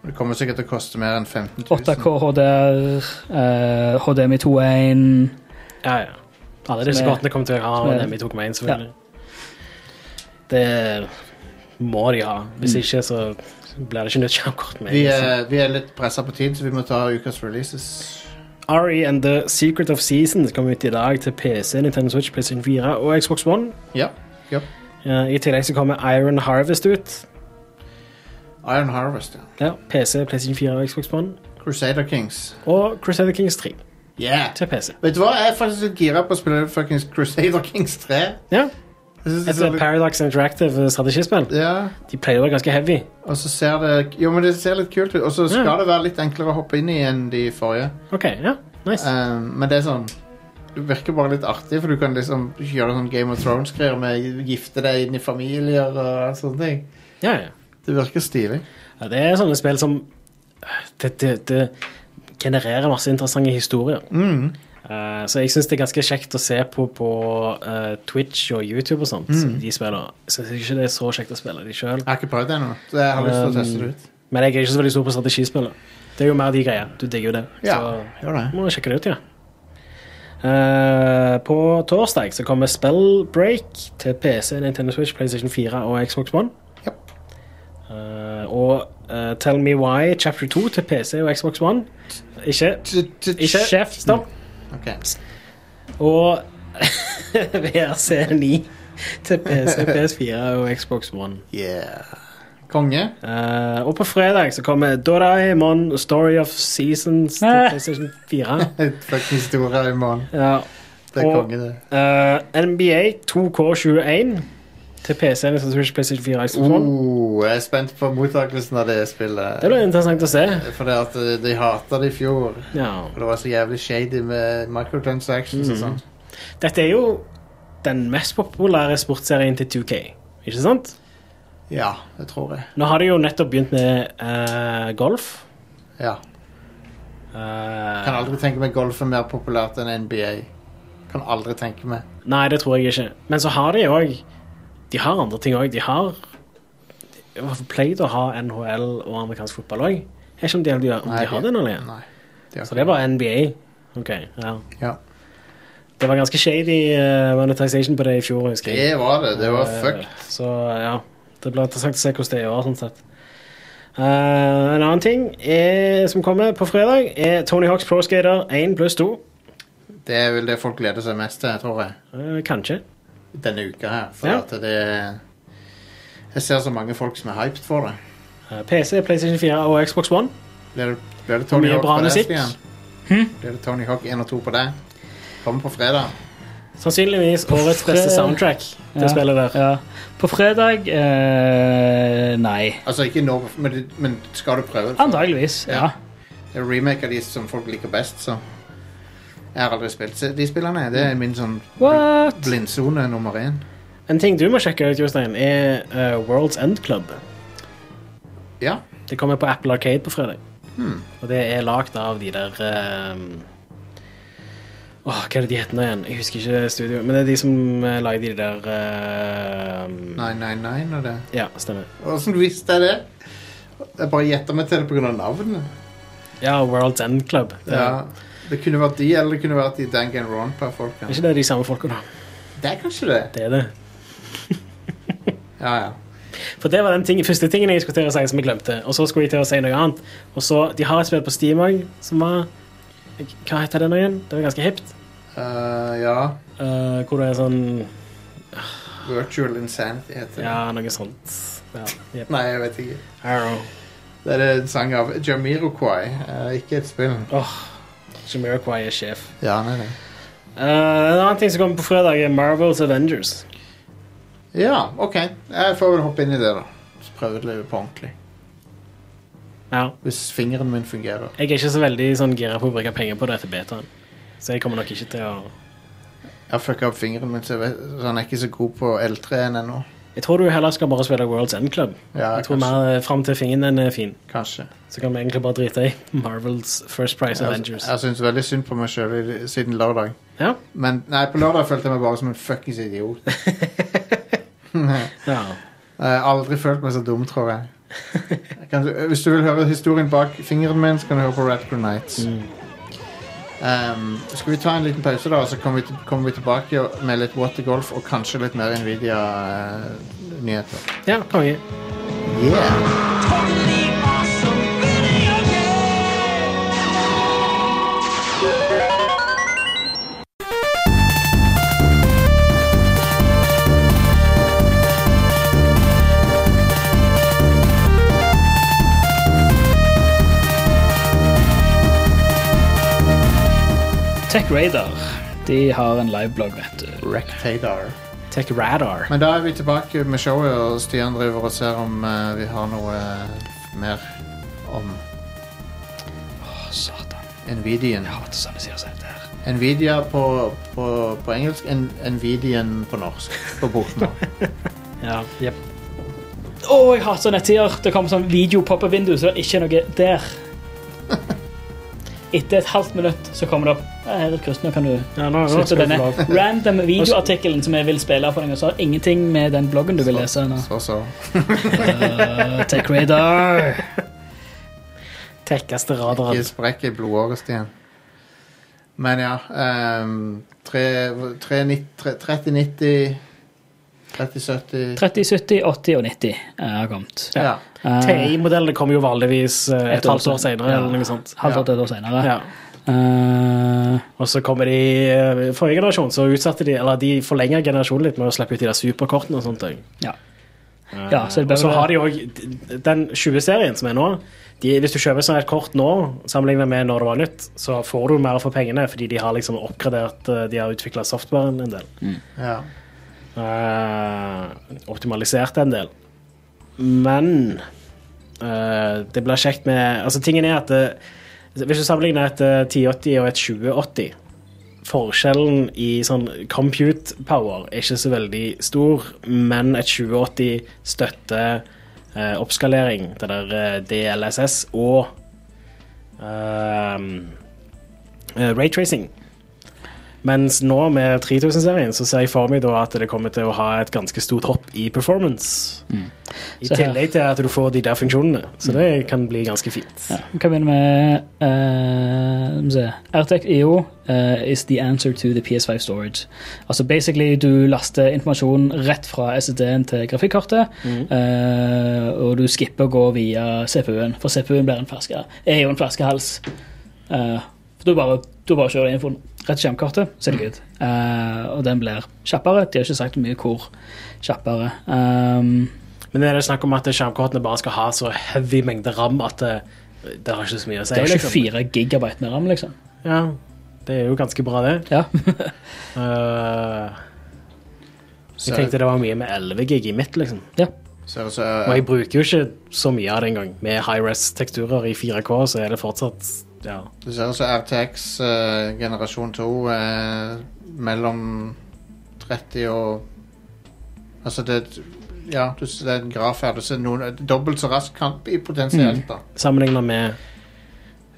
S1: Det kommer sikkert til å koste mer enn 15 000.
S3: 8K HDR, eh, HDMI 2.1
S2: Ja, ja. Alle disse
S3: Som er-
S2: kortene kommer til å ha
S3: som er-
S2: NMI 2,1, selvfølgelig. Det må de ha. Hvis ikke, så blir det ikke nytt skjermkort. med.
S1: Vi er, vi er litt pressa på tid, så vi må ta ukas releases.
S2: RE and The Secret of Seasons kom ut i dag til PC, Nintendo Switch, PlayStation 4 og Xbox One.
S1: Ja. ja.
S2: Eh, I tillegg så kommer Iron Harvest ut.
S1: Iron Harvest, ja.
S2: Ja, PC, PlayStation 4 og Xbox One.
S1: Crusader Kings.
S2: Og Crusader Kings 3
S1: Yeah!
S2: til PC.
S1: Vet du hva, jeg er faktisk litt gira på å spille fuckings Crusader Kings 3.
S2: Ja,
S1: Jeg synes det
S2: Et
S1: ser litt-
S2: Paradox Interactive eh, strategispill.
S1: Ja,
S2: De pleier å være ganske heavy.
S1: og så ser det Jo, men det ser litt kult ut, og så skal
S2: Ja.
S1: det være litt enklere å hoppe inn i enn de forrige.
S2: Ok, ja, nice.
S1: Um, men det er sånn Det virker bare litt artig, for du kan liksom gjøre sånn Game of Thrones-greier med gifte deg inn i familier og sånne ting.
S2: Ja, ja.
S1: Det virker stilig.
S2: Ja, det er sånne spill som øh, det, det, det genererer masse interessante historier.
S1: Mm.
S2: Eh, så jeg syns det er ganske kjekt å se på på eh, Twitch og YouTube og sånt. De spiller. Jeg syns ikke det er så kjekt å spille de sjøl.
S1: Jeg har ikke prøvd det ennå, så jeg har lyst til å teste det ut.
S2: Men jeg er ikke så veldig stor på strategispill. da. Det er jo mer de greier. Du digger jo det.
S1: Ja,
S2: Så
S1: gjør det.
S2: må sjekke det ut, ja. Eh, på torsdag så kommer Spellbreak til PC, Nintendo Switch, PlayStation 4 og Xbox One.
S1: Japp.
S2: Eh, og eh, Tell Me Why Chapter 2 til PC og Xbox One. Ikke Ikke Chef, stopp.
S1: Ok.
S2: Og VRC9 til PC, PS4 og Xbox One.
S1: Yeah. Konge.
S2: Eh, og på fredag så kommer Doraemon Story of Seasons til
S3: Nei.
S2: PlayStation 4.
S1: Et fuckings store i morgen.
S2: Ja.
S1: Det er
S2: Og-
S1: konge, det.
S2: Eh, NBA 2K21 til PC, Nintendo Switch, PlayStation 4 og Xbox One.
S1: Oh, jeg er spent på mottakelsen av det spillet.
S2: Det blir interessant å se.
S1: Fordi at eh, de hata det i fjor.
S2: Ja.
S1: Og det var så jævlig shady med microtransactions
S2: Mm.
S1: og sånn.
S2: Dette er jo den mest populære sportsserien til 2K, ikke sant?
S1: Ja, det tror jeg.
S2: Nå har de jo nettopp begynt med eh, golf.
S1: Ja.
S2: Eh,
S1: Kan aldri tenke meg golf er mer populært enn NBA. Kan aldri tenke meg.
S2: Nei, det tror jeg ikke. Men så har de òg De har andre ting òg. De har de har pleid å ha NHL og amerikansk fotball òg. Jeg vet ikke om de, om de, om
S1: Nei,
S2: de har det nå lenger.
S1: Nei. De har
S2: Så
S1: ikke-
S2: det er bare NBA. Ok, ja.
S1: Ja.
S2: Det var ganske shady eh, monetization på det i fjor, husker jeg.
S1: Det var det. Det var
S2: Eh,
S1: fucked.
S2: Så ja. Det blir interessant å se hvordan det er i år. sånn sett. Eh, en annen ting er, som kommer på fredag, er Tony Hawks Pro Skater 1 pluss 2.
S1: Det er vel det folk gleder seg mest til, tror jeg.
S2: Eh, kanskje.
S1: Denne uka her. For
S2: Ja.
S1: at det Jeg ser så mange folk som er hyped for det.
S2: Eh, PC, PlayStation 4 og Xbox One.
S1: Blir det, blir det Tony
S2: Mye
S1: Hawk
S2: bra
S1: på deg,
S2: musikk. Hm?
S1: Stian? Blir det Tony Hawk 1 og 2 på deg? Kommer på fredag.
S2: Sannsynligvis årets
S3: fre-
S2: beste soundtrack. Det
S3: Ja.
S2: spillet der.
S3: Ja. På fredag eh, Nei.
S1: Altså ikke nå, men, det- men skal du prøve det?
S3: Antageligvis, ja.
S1: Ja. Det er remake av de som folk liker best, så Jeg har aldri spilt se- de spillene. Det er min sånn bl-
S3: What?
S1: blindsone nummer én.
S2: En ting du må sjekke ut, Jostein, er eh, World's End Club.
S1: Ja. Hmm.
S2: Det kommer på Apple Arcade på fredag. Og det er lagd av de der eh, Åh, Hva er det de heter nå igjen? Jeg husker ikke studio. Men det er de som eh, lagde de der eh,
S1: 999 og det.
S2: Ja, stemmer.
S1: Åssen visste jeg det? Jeg bare gjetter meg til det pga. navnet.
S2: Ja, World's End Club. Det, er-
S1: Ja. Det kunne vært de, eller det kunne vært de Danganronpa-folka.
S2: Er ikke det de samme folka, da?
S1: Det er kanskje det.
S2: Det er det.
S1: Ja, ja.
S2: For det var den ting, første tingen jeg skulle til å si som jeg glemte. Og så skulle jeg til å si noe annet. Og så, De har et spill på Steam òg som var Hva heter det nå igjen? Det var ganske hipt.
S1: Eh, ja.
S2: Eh, hvor det er sånn
S1: Virtual Insanity heter det.
S2: Ja, noe sånt. Ja, yep.
S1: Nei, jeg vet ikke.
S2: Arrow.
S1: Det er en sang av Jamiroquai, eh, ikke et spill.
S2: Jamiroquai er sjef.
S1: Ja, nei, nei.
S2: Eh, en annen ting som kommer på fredag, er Marvels Avengers.
S1: Ja, OK. Jeg får vel hoppe inn i det, da. Så prøve det på ordentlig.
S2: Ja,
S1: Hvis fingeren min fungerer.
S2: Jeg er ikke så veldig sånn gira på å bruke penger på det etter betaen, så jeg kommer nok ikke til å
S1: Jeg fucka opp fingeren min, så, jeg vet, så han er ikke så god på L3-en ennå.
S2: Jeg tror du heller skal bare spille World's End Club.
S1: Ja,
S2: jeg tror mer fram til fingeren er fin.
S1: Kanskje.
S2: Så kan vi egentlig bare drite i Marvels First Price
S1: Jeg,
S2: Avengers.
S1: jeg syns veldig synd på meg sjøl siden lørdag.
S2: Ja.
S1: Men nei, på lørdag følte jeg meg bare som en fuckings idiot.
S2: ja.
S1: Jeg har aldri følt meg så dum, tror jeg. jeg kan, hvis du vil høre historien bak fingeren min, så kan du høre på Radcrow Nights. Um, skal vi ta en liten pause, da, og så kommer vi, til- kommer vi tilbake med litt Water Golf og kanskje litt mer eh, Nvidia-nyheter.
S2: ja konge.
S1: yeah.
S4: Totally awesome video game.
S3: Tech Radar de har en liveblogg, vet du.
S1: Rectadar.
S2: Tech Radar.
S1: Men da er vi tilbake med showet, og Stian driver og ser om eh, vi har noe eh, mer om
S3: Å, satan.
S1: Nvidian.
S3: Jeg hater sånne sider som dette her.
S1: Nvidia på, på, på engelsk, en, Nvidian på norsk. På bokmål.
S2: Ja. Yep.
S3: Å, jeg hater sånne nettsider. Det kommer sånn video popper vindu, så det er ikke noe der. Etter et halvt minutt så kommer det opp. Ja, her er et kryss, nå kan du
S2: Ja, nå, nå
S3: slutte
S2: skal vi
S3: denne
S2: få lov.
S3: random videoartikkelen som jeg vil spille for deg, og så har ingenting med den bloggen du vil lese. nå.
S1: Så, så.
S3: Uh, Tech Radar.
S2: Tekkeste
S1: Ikke
S2: radaren.
S1: sprekk i blodåret, Stian. Men ja ehm, tre- tre nitt- tre- 3090 3070
S3: 30, 70, 80 og 90 er kommet.
S1: ja.
S3: Eh,
S2: TI-modellene kommer jo vanligvis eh, et,
S3: Et år
S2: halvt år
S3: senere.
S2: senere,
S3: Ja.
S2: eller noe sånt.
S3: Halvt år til et år senere.
S2: Ja.
S3: Eh,
S2: Og så kommer de eh, Forrige generasjon så utsatte de Eller de forlenger generasjonen litt med å slippe ut de der superkortene og sånt. også. Eh,
S3: ja. Ja, så det blir-
S2: og så har de òg den 20-serien som er nå. De, hvis du kjøper sånn et kort nå, sammenlignet med når det var nytt, så får du mer for pengene fordi de har liksom oppgradert eh, De har utvikla softwaren en del.
S1: ja.
S2: Eh, optimalisert en del. Men eh, det blir kjekt med Altså, tingen er at eh, hvis du sammenligner et eh, 1080 og et 2080 Forskjellen i sånn compute power er ikke så veldig stor, men et 2080 støtter eh, oppskalering, det der eh, DLSS, og ehm, uh, raytracing. eh, Mens nå med 3000-serien så ser jeg for meg da at det kommer til å ha et ganske stort hopp i performance. I
S3: Mm. Så her-
S2: tillegg til at du får de der funksjonene. Så det kan bli ganske fint.
S3: Ja, vi kan begynne med eh, skal vi se. Artec EO eh, is the answer to the PS5 storage. Altså basically Du laster informasjon rett fra SSD-en til grafikkortet,
S2: Mhm.
S3: eh, og du skipper å gå via CPU-en, for CPU-en blir en flaske, er jo en flaskehals. Eh, for du bare, du bare kjører infoen rett til skjermkortet, så er det good. Eh, og den blir kjappere. De har ikke sagt mye hvor kjappere. Um,
S2: Men er det snakk om at skjermkortene bare skal ha så heavy mengde ram at det, det har ikke så mye å si?
S3: det er
S2: liksom?
S3: 24 gigabyte med ram, liksom.
S2: Ja, det er jo ganske bra, det.
S3: Ja.
S2: Eh, jeg
S1: Så-
S2: tenkte det var mye med 11 gig i mitt, liksom.
S1: Ser ut
S2: Og jeg
S1: som
S2: bruker jo ikke så mye av det engang. Med high-res-teksturer i 4K så er det fortsatt ja.
S1: det ser ut som RTX eh, generasjon 2 eh, mellom 30 og Altså, det Ja, du ser det er en graf her. Du ser noen dobbelt så rask kamp i
S2: Mm.
S1: potensielt, da.
S2: sammenligna med,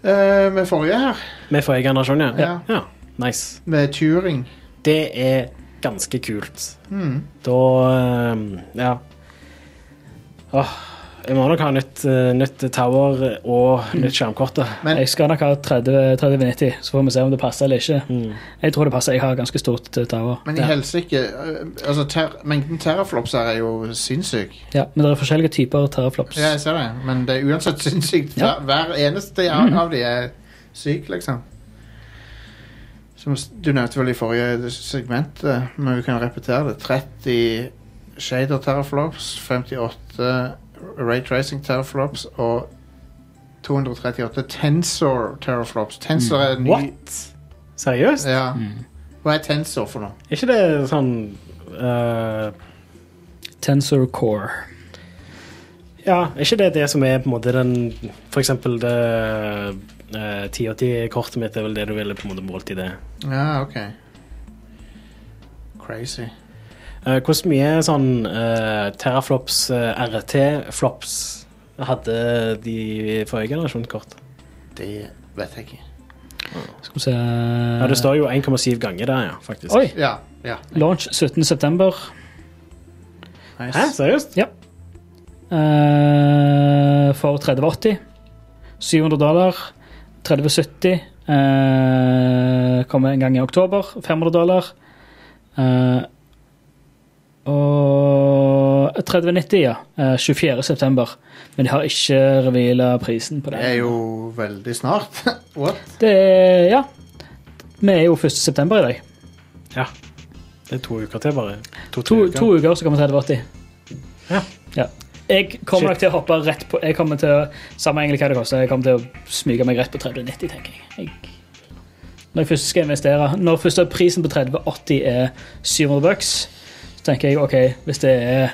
S1: Eh, med forrige her,
S2: med forrige generasjon. Ja.
S1: Ja.
S2: Nice.
S1: med Turing.
S2: Det er ganske kult.
S1: Mm.
S2: Da ehm, Ja. Åh, jeg må nok ha nytt, eh, nytt tower og nytt skjermkort. da.
S1: Men-
S3: Jeg skal nok ha 30 3090, så får vi se om det passer eller ikke.
S2: Mm.
S3: Jeg tror det passer. Jeg har ganske stort eh, tower.
S1: Men i
S3: ja.
S1: helsike eh, altså, ter Mengden terraflops her er jo sinnssyk.
S3: Ja, men det er forskjellige typer terraflops.
S1: Ja, jeg ser det, men det er uansett sinnssykt.
S3: Ja. Mhm.
S1: Hver, hver eneste av, av de er syk, liksom. Som s- du nevnte vel i forrige segment, eh, men vi kan repetere det. 30 shader terraflops, 58 raytracing terraflops og 238 tensor terraflops.
S3: Mm.
S1: Tensor er en ny
S2: What?! Seriøst?
S1: Ja. Hva er tensor for noe?
S2: Er ikke det sånn eh,
S3: Tensor core.
S2: Ja, er ikke det det som er på en måte den For eksempel det eh, 1080-kortet mitt er vel det du ville på en måte målt i det.
S1: Ja, Ah, ok. Crazy.
S2: Eh, Hvordan mye sånn eh, terraflops, eh, RT-flops, hadde de i forrige generasjon kort?
S1: Det vet jeg ikke.
S3: Skal vi se
S2: Ja, det står jo 1,7 ganger der, ja, faktisk.
S3: Eh. Oi!
S1: Ja. ja.
S3: Launch 17.9.
S1: Nice.
S2: Hæ, seriøst?
S3: Uh, for 3080. 700 dollar. 3070 uh, kommer en gang i oktober. 500 dollar. Eh, og 3090, ja. Uh, 24. september. Men de har ikke reveala prisen på
S1: Det
S3: den.
S1: er jo veldig snart. What?
S3: Det er, ja. Vi er jo 1. september i dag.
S2: Ja. Det er to uker til, bare.
S3: To,
S2: To-tre
S3: to uker så kommer 3080.
S2: Ja.
S3: ja. Jeg kommer
S2: Shit.
S3: nok til å hoppe rett på Jeg kommer til å, Samme egentlig hva det koster, jeg kommer til å smyge meg rett på 3090, tenker jeg. jeg når jeg først skal investere Når først prisen på 3080 er 700 bucks, så tenker jeg OK, hvis det er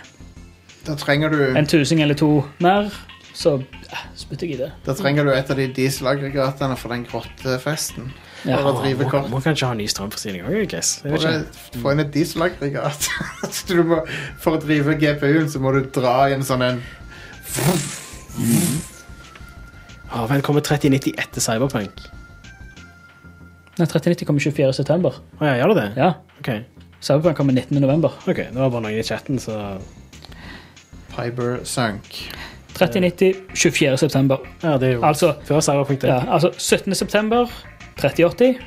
S1: Da trenger du,
S3: en tusing eller to mer, så eh, spytter jeg i det.
S1: da trenger du et av de dieselaggregatene for den grottefesten.
S3: Ja.
S1: For å drive
S2: Må,
S1: kort.
S2: må kanskje ha ny strømforsyning òg, I guess. Jeg vet
S1: For
S2: ikke.
S1: å få inn et dieselaggregat. Så du må, for å drive GPU-en så må du dra i en sånn en
S2: Å, men Ah, kommer 3090 etter Cyberpunk?
S3: Nei, 3090 kommer 24. september.
S2: Å ja, gjør det det?
S3: Ja.
S2: OK.
S3: Cyberpunk kommer 19. november.
S2: ok, Det var bare noen i chatten, så
S1: Piber Sunk.
S3: 3090, 24. september.
S2: Ja, det er jo
S3: Altså,
S2: før Cyberpunk, det.
S3: ja, altså 17. september 3080,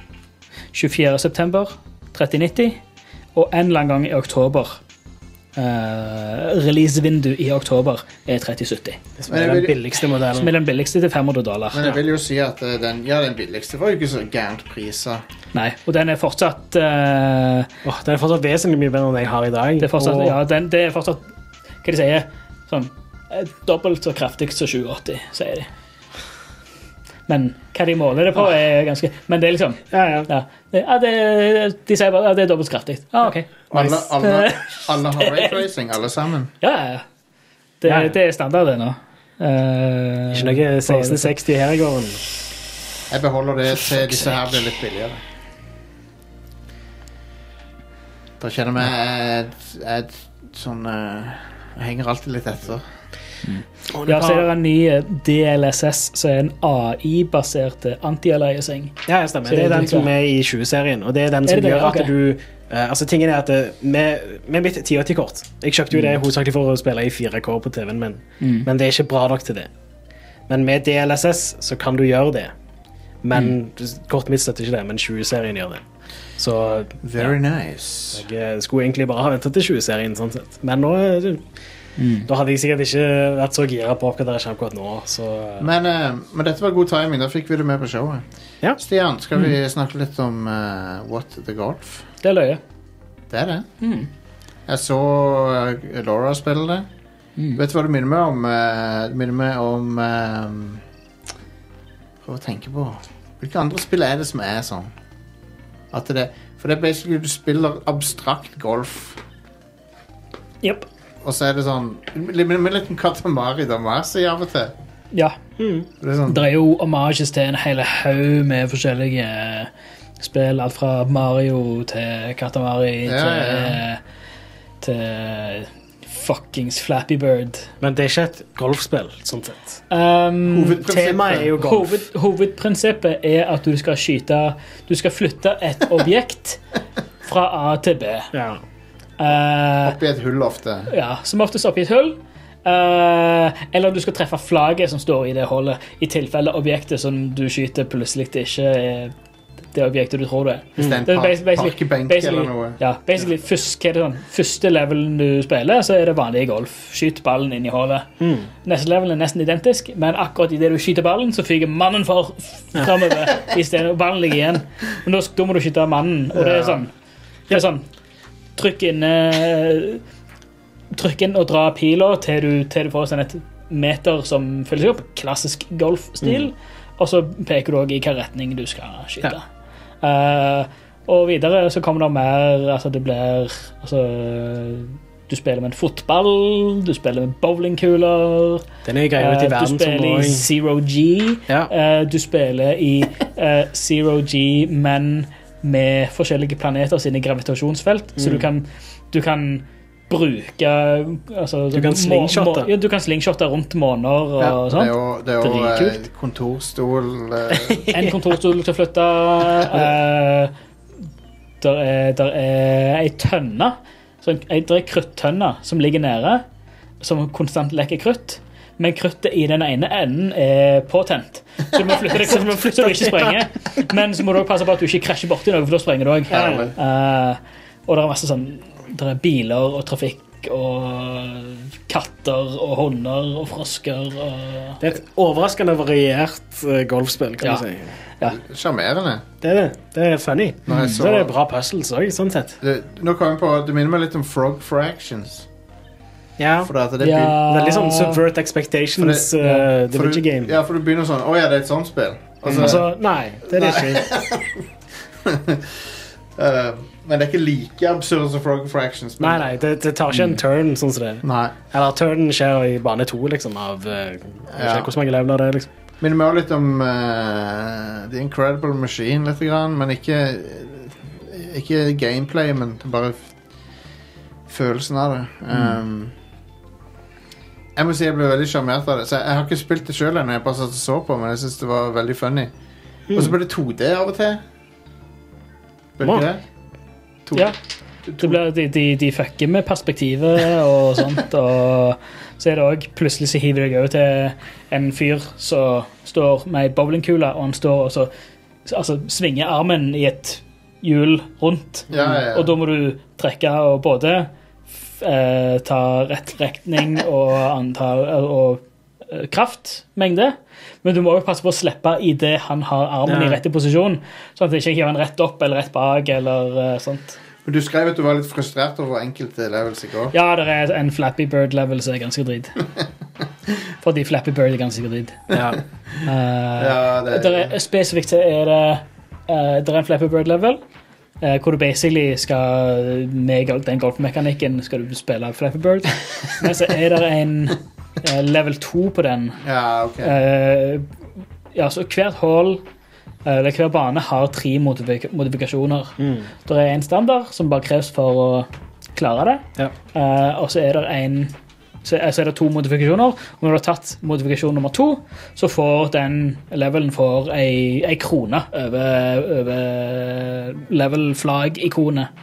S3: 24. september 3090 og en eller annen gang i oktober. Uh, Releasevindu i oktober er 3070.
S2: Det
S1: Men
S2: er
S1: jeg
S2: den
S1: vil-
S2: billigste
S3: Som
S2: modellen.
S3: er den billigste til 500 dollar.
S1: Men jeg vil jo si at eh, den, ja, den billigste var jo ikke så gærent prisa.
S3: Nei, og den er fortsatt eh,
S2: Åh, den er fortsatt vesentlig mye bedre enn jeg har i dag.
S3: Det er fortsatt,
S2: og-
S3: ja, den, det er fortsatt Hva de sier sånn, eh, Dobbelt så kraftig som 2080, sier de. Men hva de måler det på, er ganske Men det er liksom
S2: ja, ja.
S3: ja, det, ja, det, De sier bare at det er dobbelt så kraftig. Ah, ok.
S1: Alle,
S2: Nice.
S1: alle, alle har raytracing, alle sammen.
S3: Ja, ja, ja. Det,
S2: Ja, ja.
S3: det er standard, det nå. Eh,
S2: Ikke noe 1660 her i gården.
S1: Jeg beholder det til disse her blir litt billigere. eh, Da kjenner jeg meg jeg, jeg, sånn eh, Jeg henger eh, alltid litt etter.
S3: Ja, så er det en ny eh, DLSS, som er en AI-basert eh, anti-aliasing.
S2: Ja, ja, stemmer. Det er den som er i 20-serien. Og det er den som
S3: Er det det?
S2: gjør at
S3: Ok.
S2: du eh, Altså, tingen er at eh, med, med mitt 1080-kort Jeg kjøpte jo
S3: Mm.
S2: det hovedsakelig for å spille i 4K på TV-en min, men det er ikke bra nok til det. Men med DLSS så kan du gjøre det. Men
S3: Mm.
S2: Kortet mitt støtter ikke det, men 20-serien gjør det. Så
S1: Very nice.
S2: jeg eh, skulle egentlig bare ha ventet til 20-serien, sånn sett. Men nå eh,
S3: Mm.
S2: Da hadde jeg sikkert ikke vært så gira på å oppgradere skjermkort nå, så
S1: Men, eh, men dette var god timing. Da fikk vi det med på showet.
S2: Ja.
S1: Stian, skal vi snakke litt om eh, What the Golf?
S3: Det er løye.
S1: Det er det. Jeg så eh, Laura spille det.
S3: Mm.
S1: Vet du hva det minner meg om? Eh, Det minner meg om eh, Prøv å tenke på Hvilke andre spill er det som er sånn? At det, for det er basically du spiller abstrakt golf,
S3: Jep.
S1: og så er det sånn Det minner meg litt om Katamari Damasi av og til.
S3: Ja.
S1: Det er sånn,
S3: Det er jo homages til en hel haug med forskjellige eh, spill. Alt fra Mario til Katamari
S1: Ja, ja,
S3: til, til fuckings Flappy Bird.
S2: Men det er ikke et golfspill, sånn sett.
S3: Um,
S1: Hovedprinsippet.
S2: Temaet er jo golf.
S3: Hoved, hovedprinsippet er at du skal skyte Du skal flytte et objekt fra A til B.
S2: Ja.
S3: Eh,
S1: Oppi et hull ofte.
S3: ja, som oftest oppi et hull. Eh, eller du skal treffe flagget som står i det hullet, i tilfelle objektet som du skyter, plutselig ikke er det objektet du tror det er.
S1: Hvis det er en
S3: Det er
S1: par,
S3: bas- basically-
S1: parkebenk
S3: basically-
S1: eller noe.
S3: Ja, basically først, hva er det sånn, Første levelen du spiller, så er det vanlig golf. Skyt ballen inn i hullet. Neste level er nesten identisk, men akkurat idet du skyter ballen, så fyker mannen for framover. Istedenfor ballen ligger igjen. Men da, da må du skyte mannen, og det er sånn. Det er sånn Trykk inne Trykk inn og dra pila til du, til du får sånn et meter som fylles opp. Klassisk golfstil. Og så peker du òg i hvilken retning du skal skyte. Eh, og videre så kommer det mer Altså, det blir Altså Du spiller med en fotball, du spiller med bowlingkuler,
S2: Den er greia ute i
S3: eh, du
S2: verden som
S3: spiller i
S2: også-
S3: Zero G,
S2: Ja.
S3: eh, du spiller i eh, Zero G, men med forskjellige planeter sine gravitasjonsfelt, så
S2: Mm.
S3: du kan, du kan bruke altså,
S2: Du kan
S3: må-
S2: slingshotte.
S3: må- Ja, du kan slingshotte rundt måner og
S1: Det er
S3: sånt.
S1: jo, det er jo eh,
S3: Dritkult.
S1: kontorstol eh,
S3: En kontorstol til å flytte. Eh, der, er, der er ei tønne, så ei, der er kruttønne som ligger nede, som konstant lekker krutt. Men kruttet i den ene enden er påtent, så du må flytte det krutt, så du ikke sprenger. Men så må du også passe på at du ikke krasjer borti noe, for da sprenger du òg.
S1: Herlig.
S3: og det er masse sånn Der er biler og trafikk og katter og hunder og frosker og
S2: Det er et overraskende variert eh, golfspill, kan
S3: Ja.
S2: du si.
S1: Sjarmerende.
S2: Det er det. Det er funny.
S1: Når jeg
S2: Så,
S1: så-
S2: er det bra puzzles òg, sånn sett.
S1: Det, nå kom jeg på, det minner meg litt om Frog Fractions.
S2: Ja.
S1: For at det,
S3: Ja.
S1: begyn-
S2: Det er litt sånn subvert expectations,
S1: For det-
S2: eh, The
S1: for
S2: Witcher
S1: du,
S2: Game.
S1: Ja, for du begynner sånn Å ja, det er et sånt spill. Og så-
S2: Altså, nei, det er det ikke. Mm.
S1: eh, men det er ikke like absurd som Frog Fractions. Men,
S2: Nei, nei, det, det tar
S1: Mm.
S2: ikke en turn, sånn som det er.
S1: Nei.
S2: Eller turnen skjer i bane to, liksom, av eh,
S1: Ja.
S2: ja. Hvor mange leveler det er, liksom.
S1: Minner meg også litt om eh, The Incredible Machine, lite grann. Men ikke, ikke gameplay, men bare f- følelsen av det. Um, jeg må si jeg ble veldig sjarmert av det. Så jeg, jeg har ikke spilt det sjøl ennå, jeg bare satt og så på, men jeg syns det var veldig funny. Og så ble det 2D av og til. Ble det
S2: Wow.
S1: ikke det? To-
S3: Ja. Det blir, de, de, de fucker med perspektivet og sånt, og så er det òg Plutselig så hiver jeg over til en fyr som står med ei bowlingkule, og han står og så altså, svinger armen i et hjul rundt,
S1: Ja, ja, ja.
S3: og da må du trekke og både f- eh, ta rett retning og antall og eh, kraftmengde, men du må jo passe på å slippe idet han har armen
S2: Ja.
S3: i rette posisjon, sånn at ikke hiver han rett opp eller rett bak eller eh, sånt.
S1: Men du skrev at du var litt frustrert over enkelte levels i går.
S3: Ja, det er en Flappy Bird-level som er ganske drit. Fordi Flappy Bird er ganske drit.
S2: Ja.
S3: Uh,
S1: Ja, det-
S3: der er, spesifikt så er det uh, der er en Flappy Bird-level eh, hvor du basically skal med gol- den golfmekanikken skal du spille Flappy Bird. Men så er det en eh, level 2 på den.
S1: Ja, ok.
S3: Eh, ja, så hvert hull eh, eller hver bane har tre modifik modifikasjoner.
S2: Mm.
S3: Det er en standard som bare kreves for å klare det.
S2: Ja.
S3: Eh, og så er det en så så er det to modifikasjoner. Og når du har tatt modifikasjon nummer to, så får den levelen får ei, ei krone over, over level-flagg-ikonet.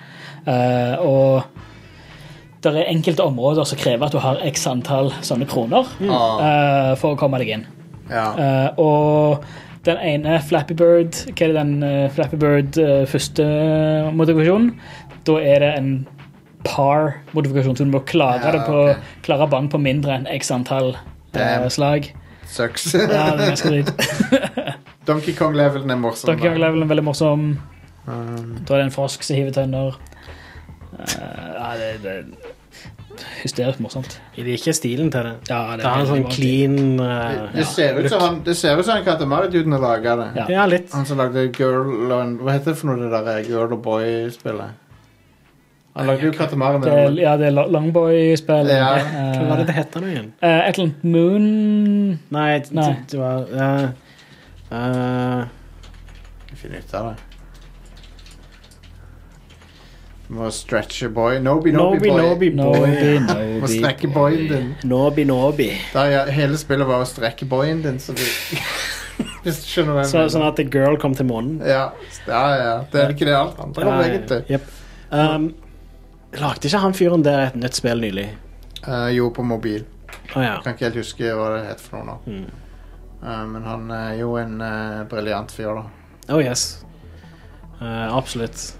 S3: Eh, og det er enkelte områder som krever at du har x antall sånne kroner eh, for å komme deg inn.
S1: Ah, Ja.
S3: Eh, og den ene Flappy Bird Hva er det den eh, Flappy Bird eh, første modifikasjonen? Da er det en par-modifikasjon, så du må klare,
S1: Ja,
S3: det på,
S1: ok.
S3: klare banen på mindre enn x antall eh,
S1: Damn. Sånn
S3: slag.
S1: Sucks.
S3: Ja, det er ganske dritt.
S1: Donkey Kong-levelen er morsom.
S3: Donkey
S1: da.
S3: Kong-levelen er veldig morsom.
S1: Um.
S3: Da er det en frosk som hiver tønner. Eh, ja, det, det er hysterisk morsomt.
S2: Jeg liker stilen til det.
S3: Ja,
S2: Det har en sånn
S3: veldig
S2: clean
S1: Det-
S2: eh,
S1: Det ser ut som han, det ser ut som han Katamari-duden har laga det.
S3: Ja.
S2: Ja, litt.
S1: Han som lagde Girl and Hva heter det for noe det der eh, Girl og Boy-spillet? Han lagde jo Katamari
S3: Det er,
S1: med
S3: ja, det er lo- Longboy-spill.
S1: Ja.
S3: Eh,
S2: Hva var det det het nå igjen?
S3: eh, et eller annet Moon
S2: Nei, det,
S3: Nei.
S2: det var eh, eh,
S1: Finn ut av det. Må stretche boy. Nobi, Nobi,
S2: Nobi,
S1: boy.
S2: Nobi Boy.
S3: Nobi,
S1: Må
S3: Nobi.
S1: strekke boyen din.
S2: Nobi, Nobi.
S1: Da, ja, hele spillet var å strekke boyen din, så du Hvis du skjønner hva jeg
S2: Så,
S1: mener.
S2: sånn at The Girl kom til månen.
S1: Ja, ja, ja. Det er ikke det alt andre om,
S2: Nei,
S1: egentlig.
S2: jep. Um, lagde ikke han fyren der et nytt spill nylig?
S1: Eh, jo, på mobil.
S2: Å ja. Hmm.
S1: Kan ikke helt huske hva det het for noe nå. Eh, men han er jo en uh, briljant fyr, da.
S2: Oh yes. Eh, absolutt. Eh,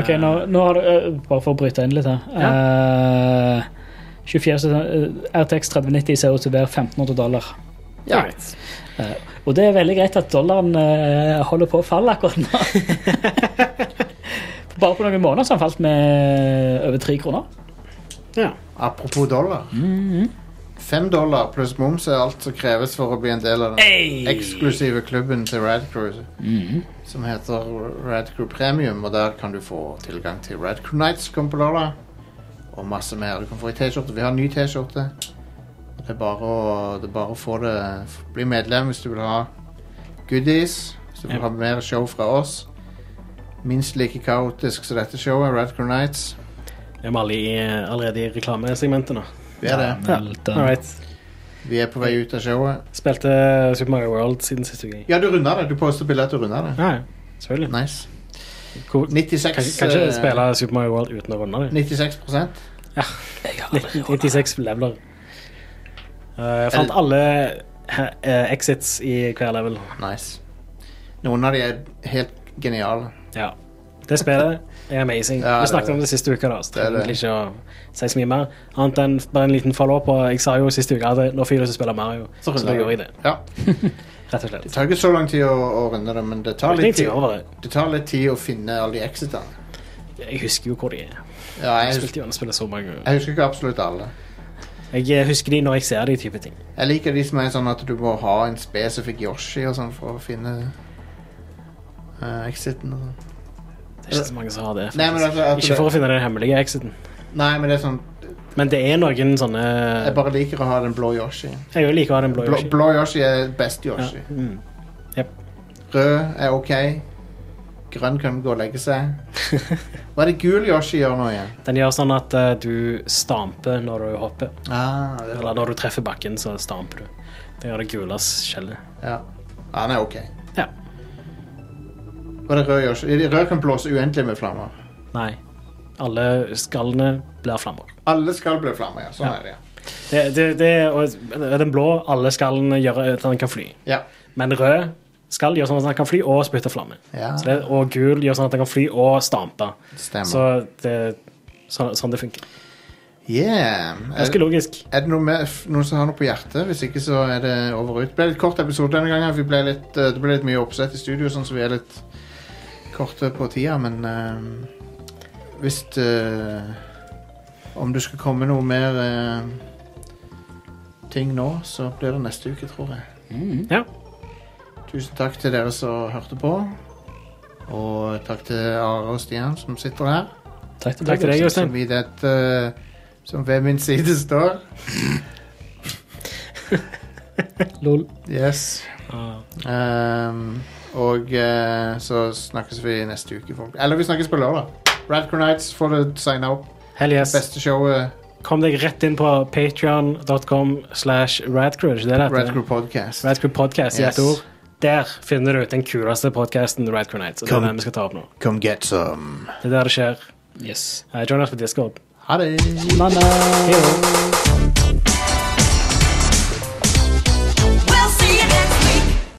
S3: Ok, nå, nå har du eh, Bare for å bryte inn litt her. Eh, 24, sesong- eh, RTX 3090 ser ut til å være 1500 dollar.
S1: Ja.
S2: Right.
S3: Og det er veldig greit at dollaren eh, holder på å falle akkurat nå. For Bare på noen måneder så har den falt med over tre kroner.
S2: Ja.
S1: Apropos dollar. Mhm. Fem dollar pluss moms er alt som kreves for å bli en del av den eksklusive klubben til Radcrew. Som heter Radcrew Premium, og der kan du få tilgang til Radcrew Nights kommer på lørdag. Og masse mer. Du kan få ei T-skjorte. Vi har en ny T-skjorte. Det er bare å, det er bare å få det Bli medlem hvis du vil ha goodies. Hvis du vil ha mer show fra oss. Minst like kaotisk som dette showet, Radcrew Nights.
S2: Er vi alle i, allerede eh, i reklamesegmentet nå?
S1: Vi er det.
S8: Vel, den-
S2: All right.
S1: Vi er på vei ut av showet.
S2: Spilte Super Mario World siden sist uke.
S1: Ja, du runda det. Du posta bilde at du runda det.
S2: Ah, Ja, ja. selvfølgelig.
S1: Nice.
S2: Cool.
S1: 96,
S2: Kan, kan ikke
S1: eh,
S2: spille Super Mario World uten å runde det.
S1: 96
S2: 19- 96 leveler. Eh, jeg fant
S1: Eller-
S2: alle he- eh, exits i hver level.
S1: Nice. Noen av de er helt geniale.
S2: Ja. Det spillet er amazing.
S1: Ja, det er
S2: Vi snakket om
S1: det.
S2: det siste uka, da, så
S1: Det er
S2: trenger egentlig ikke å si så mye mer. Annet enn bare en liten follow-up. og Jeg sa jo siste uke at nå får jeg lyst til å spille Mario. Så, da gjorde jeg det.
S1: Ja.
S2: Rett
S1: Det
S2: og slett.
S1: tar ikke så lang tid å, å runde det, men det tar,
S2: Jeg,
S1: litt
S2: tenkte
S1: tid,
S2: jo over det.
S1: det tar litt tid å finne alle de exitene.
S2: jeg husker jo hvor de er.
S1: Ja,
S2: Jeg
S1: jeg,
S2: spilte
S1: husker,
S2: jo alle spillet så mange ganger.
S1: jeg husker ikke absolutt alle.
S2: Jeg eh, husker de når jeg ser de type ting.
S1: Jeg liker de som er sånn at du må ha en spesifikk Yoshi og sånn for å finne eh, exiten. og sånn.
S2: Det er ikke så mange som har det.
S1: Nei, men altså, at
S2: Ikke for å
S1: det,
S2: finne den hemmelige exiten.
S1: nei, men det er sånn
S2: Men det er noen sånne
S1: Jeg bare liker å ha den blå Yoshi.
S2: Jeg liker å ha den blå.
S1: Blå,
S2: Yoshi.
S1: blå Yoshi er best
S2: Ja.
S1: Yoshi.
S2: Mm.
S1: Rød er ok. Grønn kan gå og legge seg. Hva er det gul Yoshi gjør nå igjen?
S2: Den gjør sånn at eh, du stamper når du hopper.
S1: Ah, det
S2: Eller når du treffer bakken, så stamper du. Det gjør det gule skjellet.
S1: ja. Han er ok.
S2: Ja.
S1: Hva er det rød Yoshi? Rød kan blåse uendelig med flammer.
S2: Nei. Alle skallene blir flammer.
S1: Alle skal bli flammer, ja. Sånn er det. ja.
S2: Det, det, det, og den blå, alle skallene gjør at den kan fly.
S1: Ja.
S2: Men rød skall gjør sånn at den kan fly og spytte flamme.
S1: Ja.
S2: Så det, og gul gjør sånn at den kan fly og stampe.
S1: Stemmer.
S2: Så det så, sånn det funker.
S1: Yeah.
S2: Ganske
S1: Er,
S2: logisk.
S1: er det noe med, f- noen som har noe på hjertet? Hvis ikke, så er det over og ut. Det ble litt kort episode denne gangen. Vi ble litt, eh, det ble litt mye oppsett i studio, sånn så vi er litt korte på tida, men eh, hvis eh, Om du skal komme noe mer eh, ting nå, så blir det neste uke, tror jeg.
S3: Mhm.
S2: Ja.
S1: Tusen takk til dere som hørte på. Og takk til Are og Stian som sitter her.
S8: Takk til
S2: Takk til deg,
S8: Jostein.
S2: Jostein.
S1: Som, i dette, som ved min side står.
S8: Lol.
S1: Yes.
S2: Ah.
S1: Ehm, og eh, så snakkes vi neste uke, folk. Eller vi snakkes på lørdag. Radcrow Nights får du signa opp.
S2: Hell yes.
S1: Beste showet
S2: kom deg rett inn på patreon.com slash radcrew. er ikke det det heter?
S1: Red Crew Podcast.
S2: Radcrew Podcast i
S1: Yes.
S2: ett ord. Der finner du den kuleste podkasten, Radcrew Nights. Og det
S1: Kom.
S2: er den vi skal ta opp nå.
S1: Come get some.
S2: Det er der det skjer.
S3: Yes.
S2: Eh, Join oss på Discord.
S1: Ha det.
S3: Manna.
S2: Hei, hei.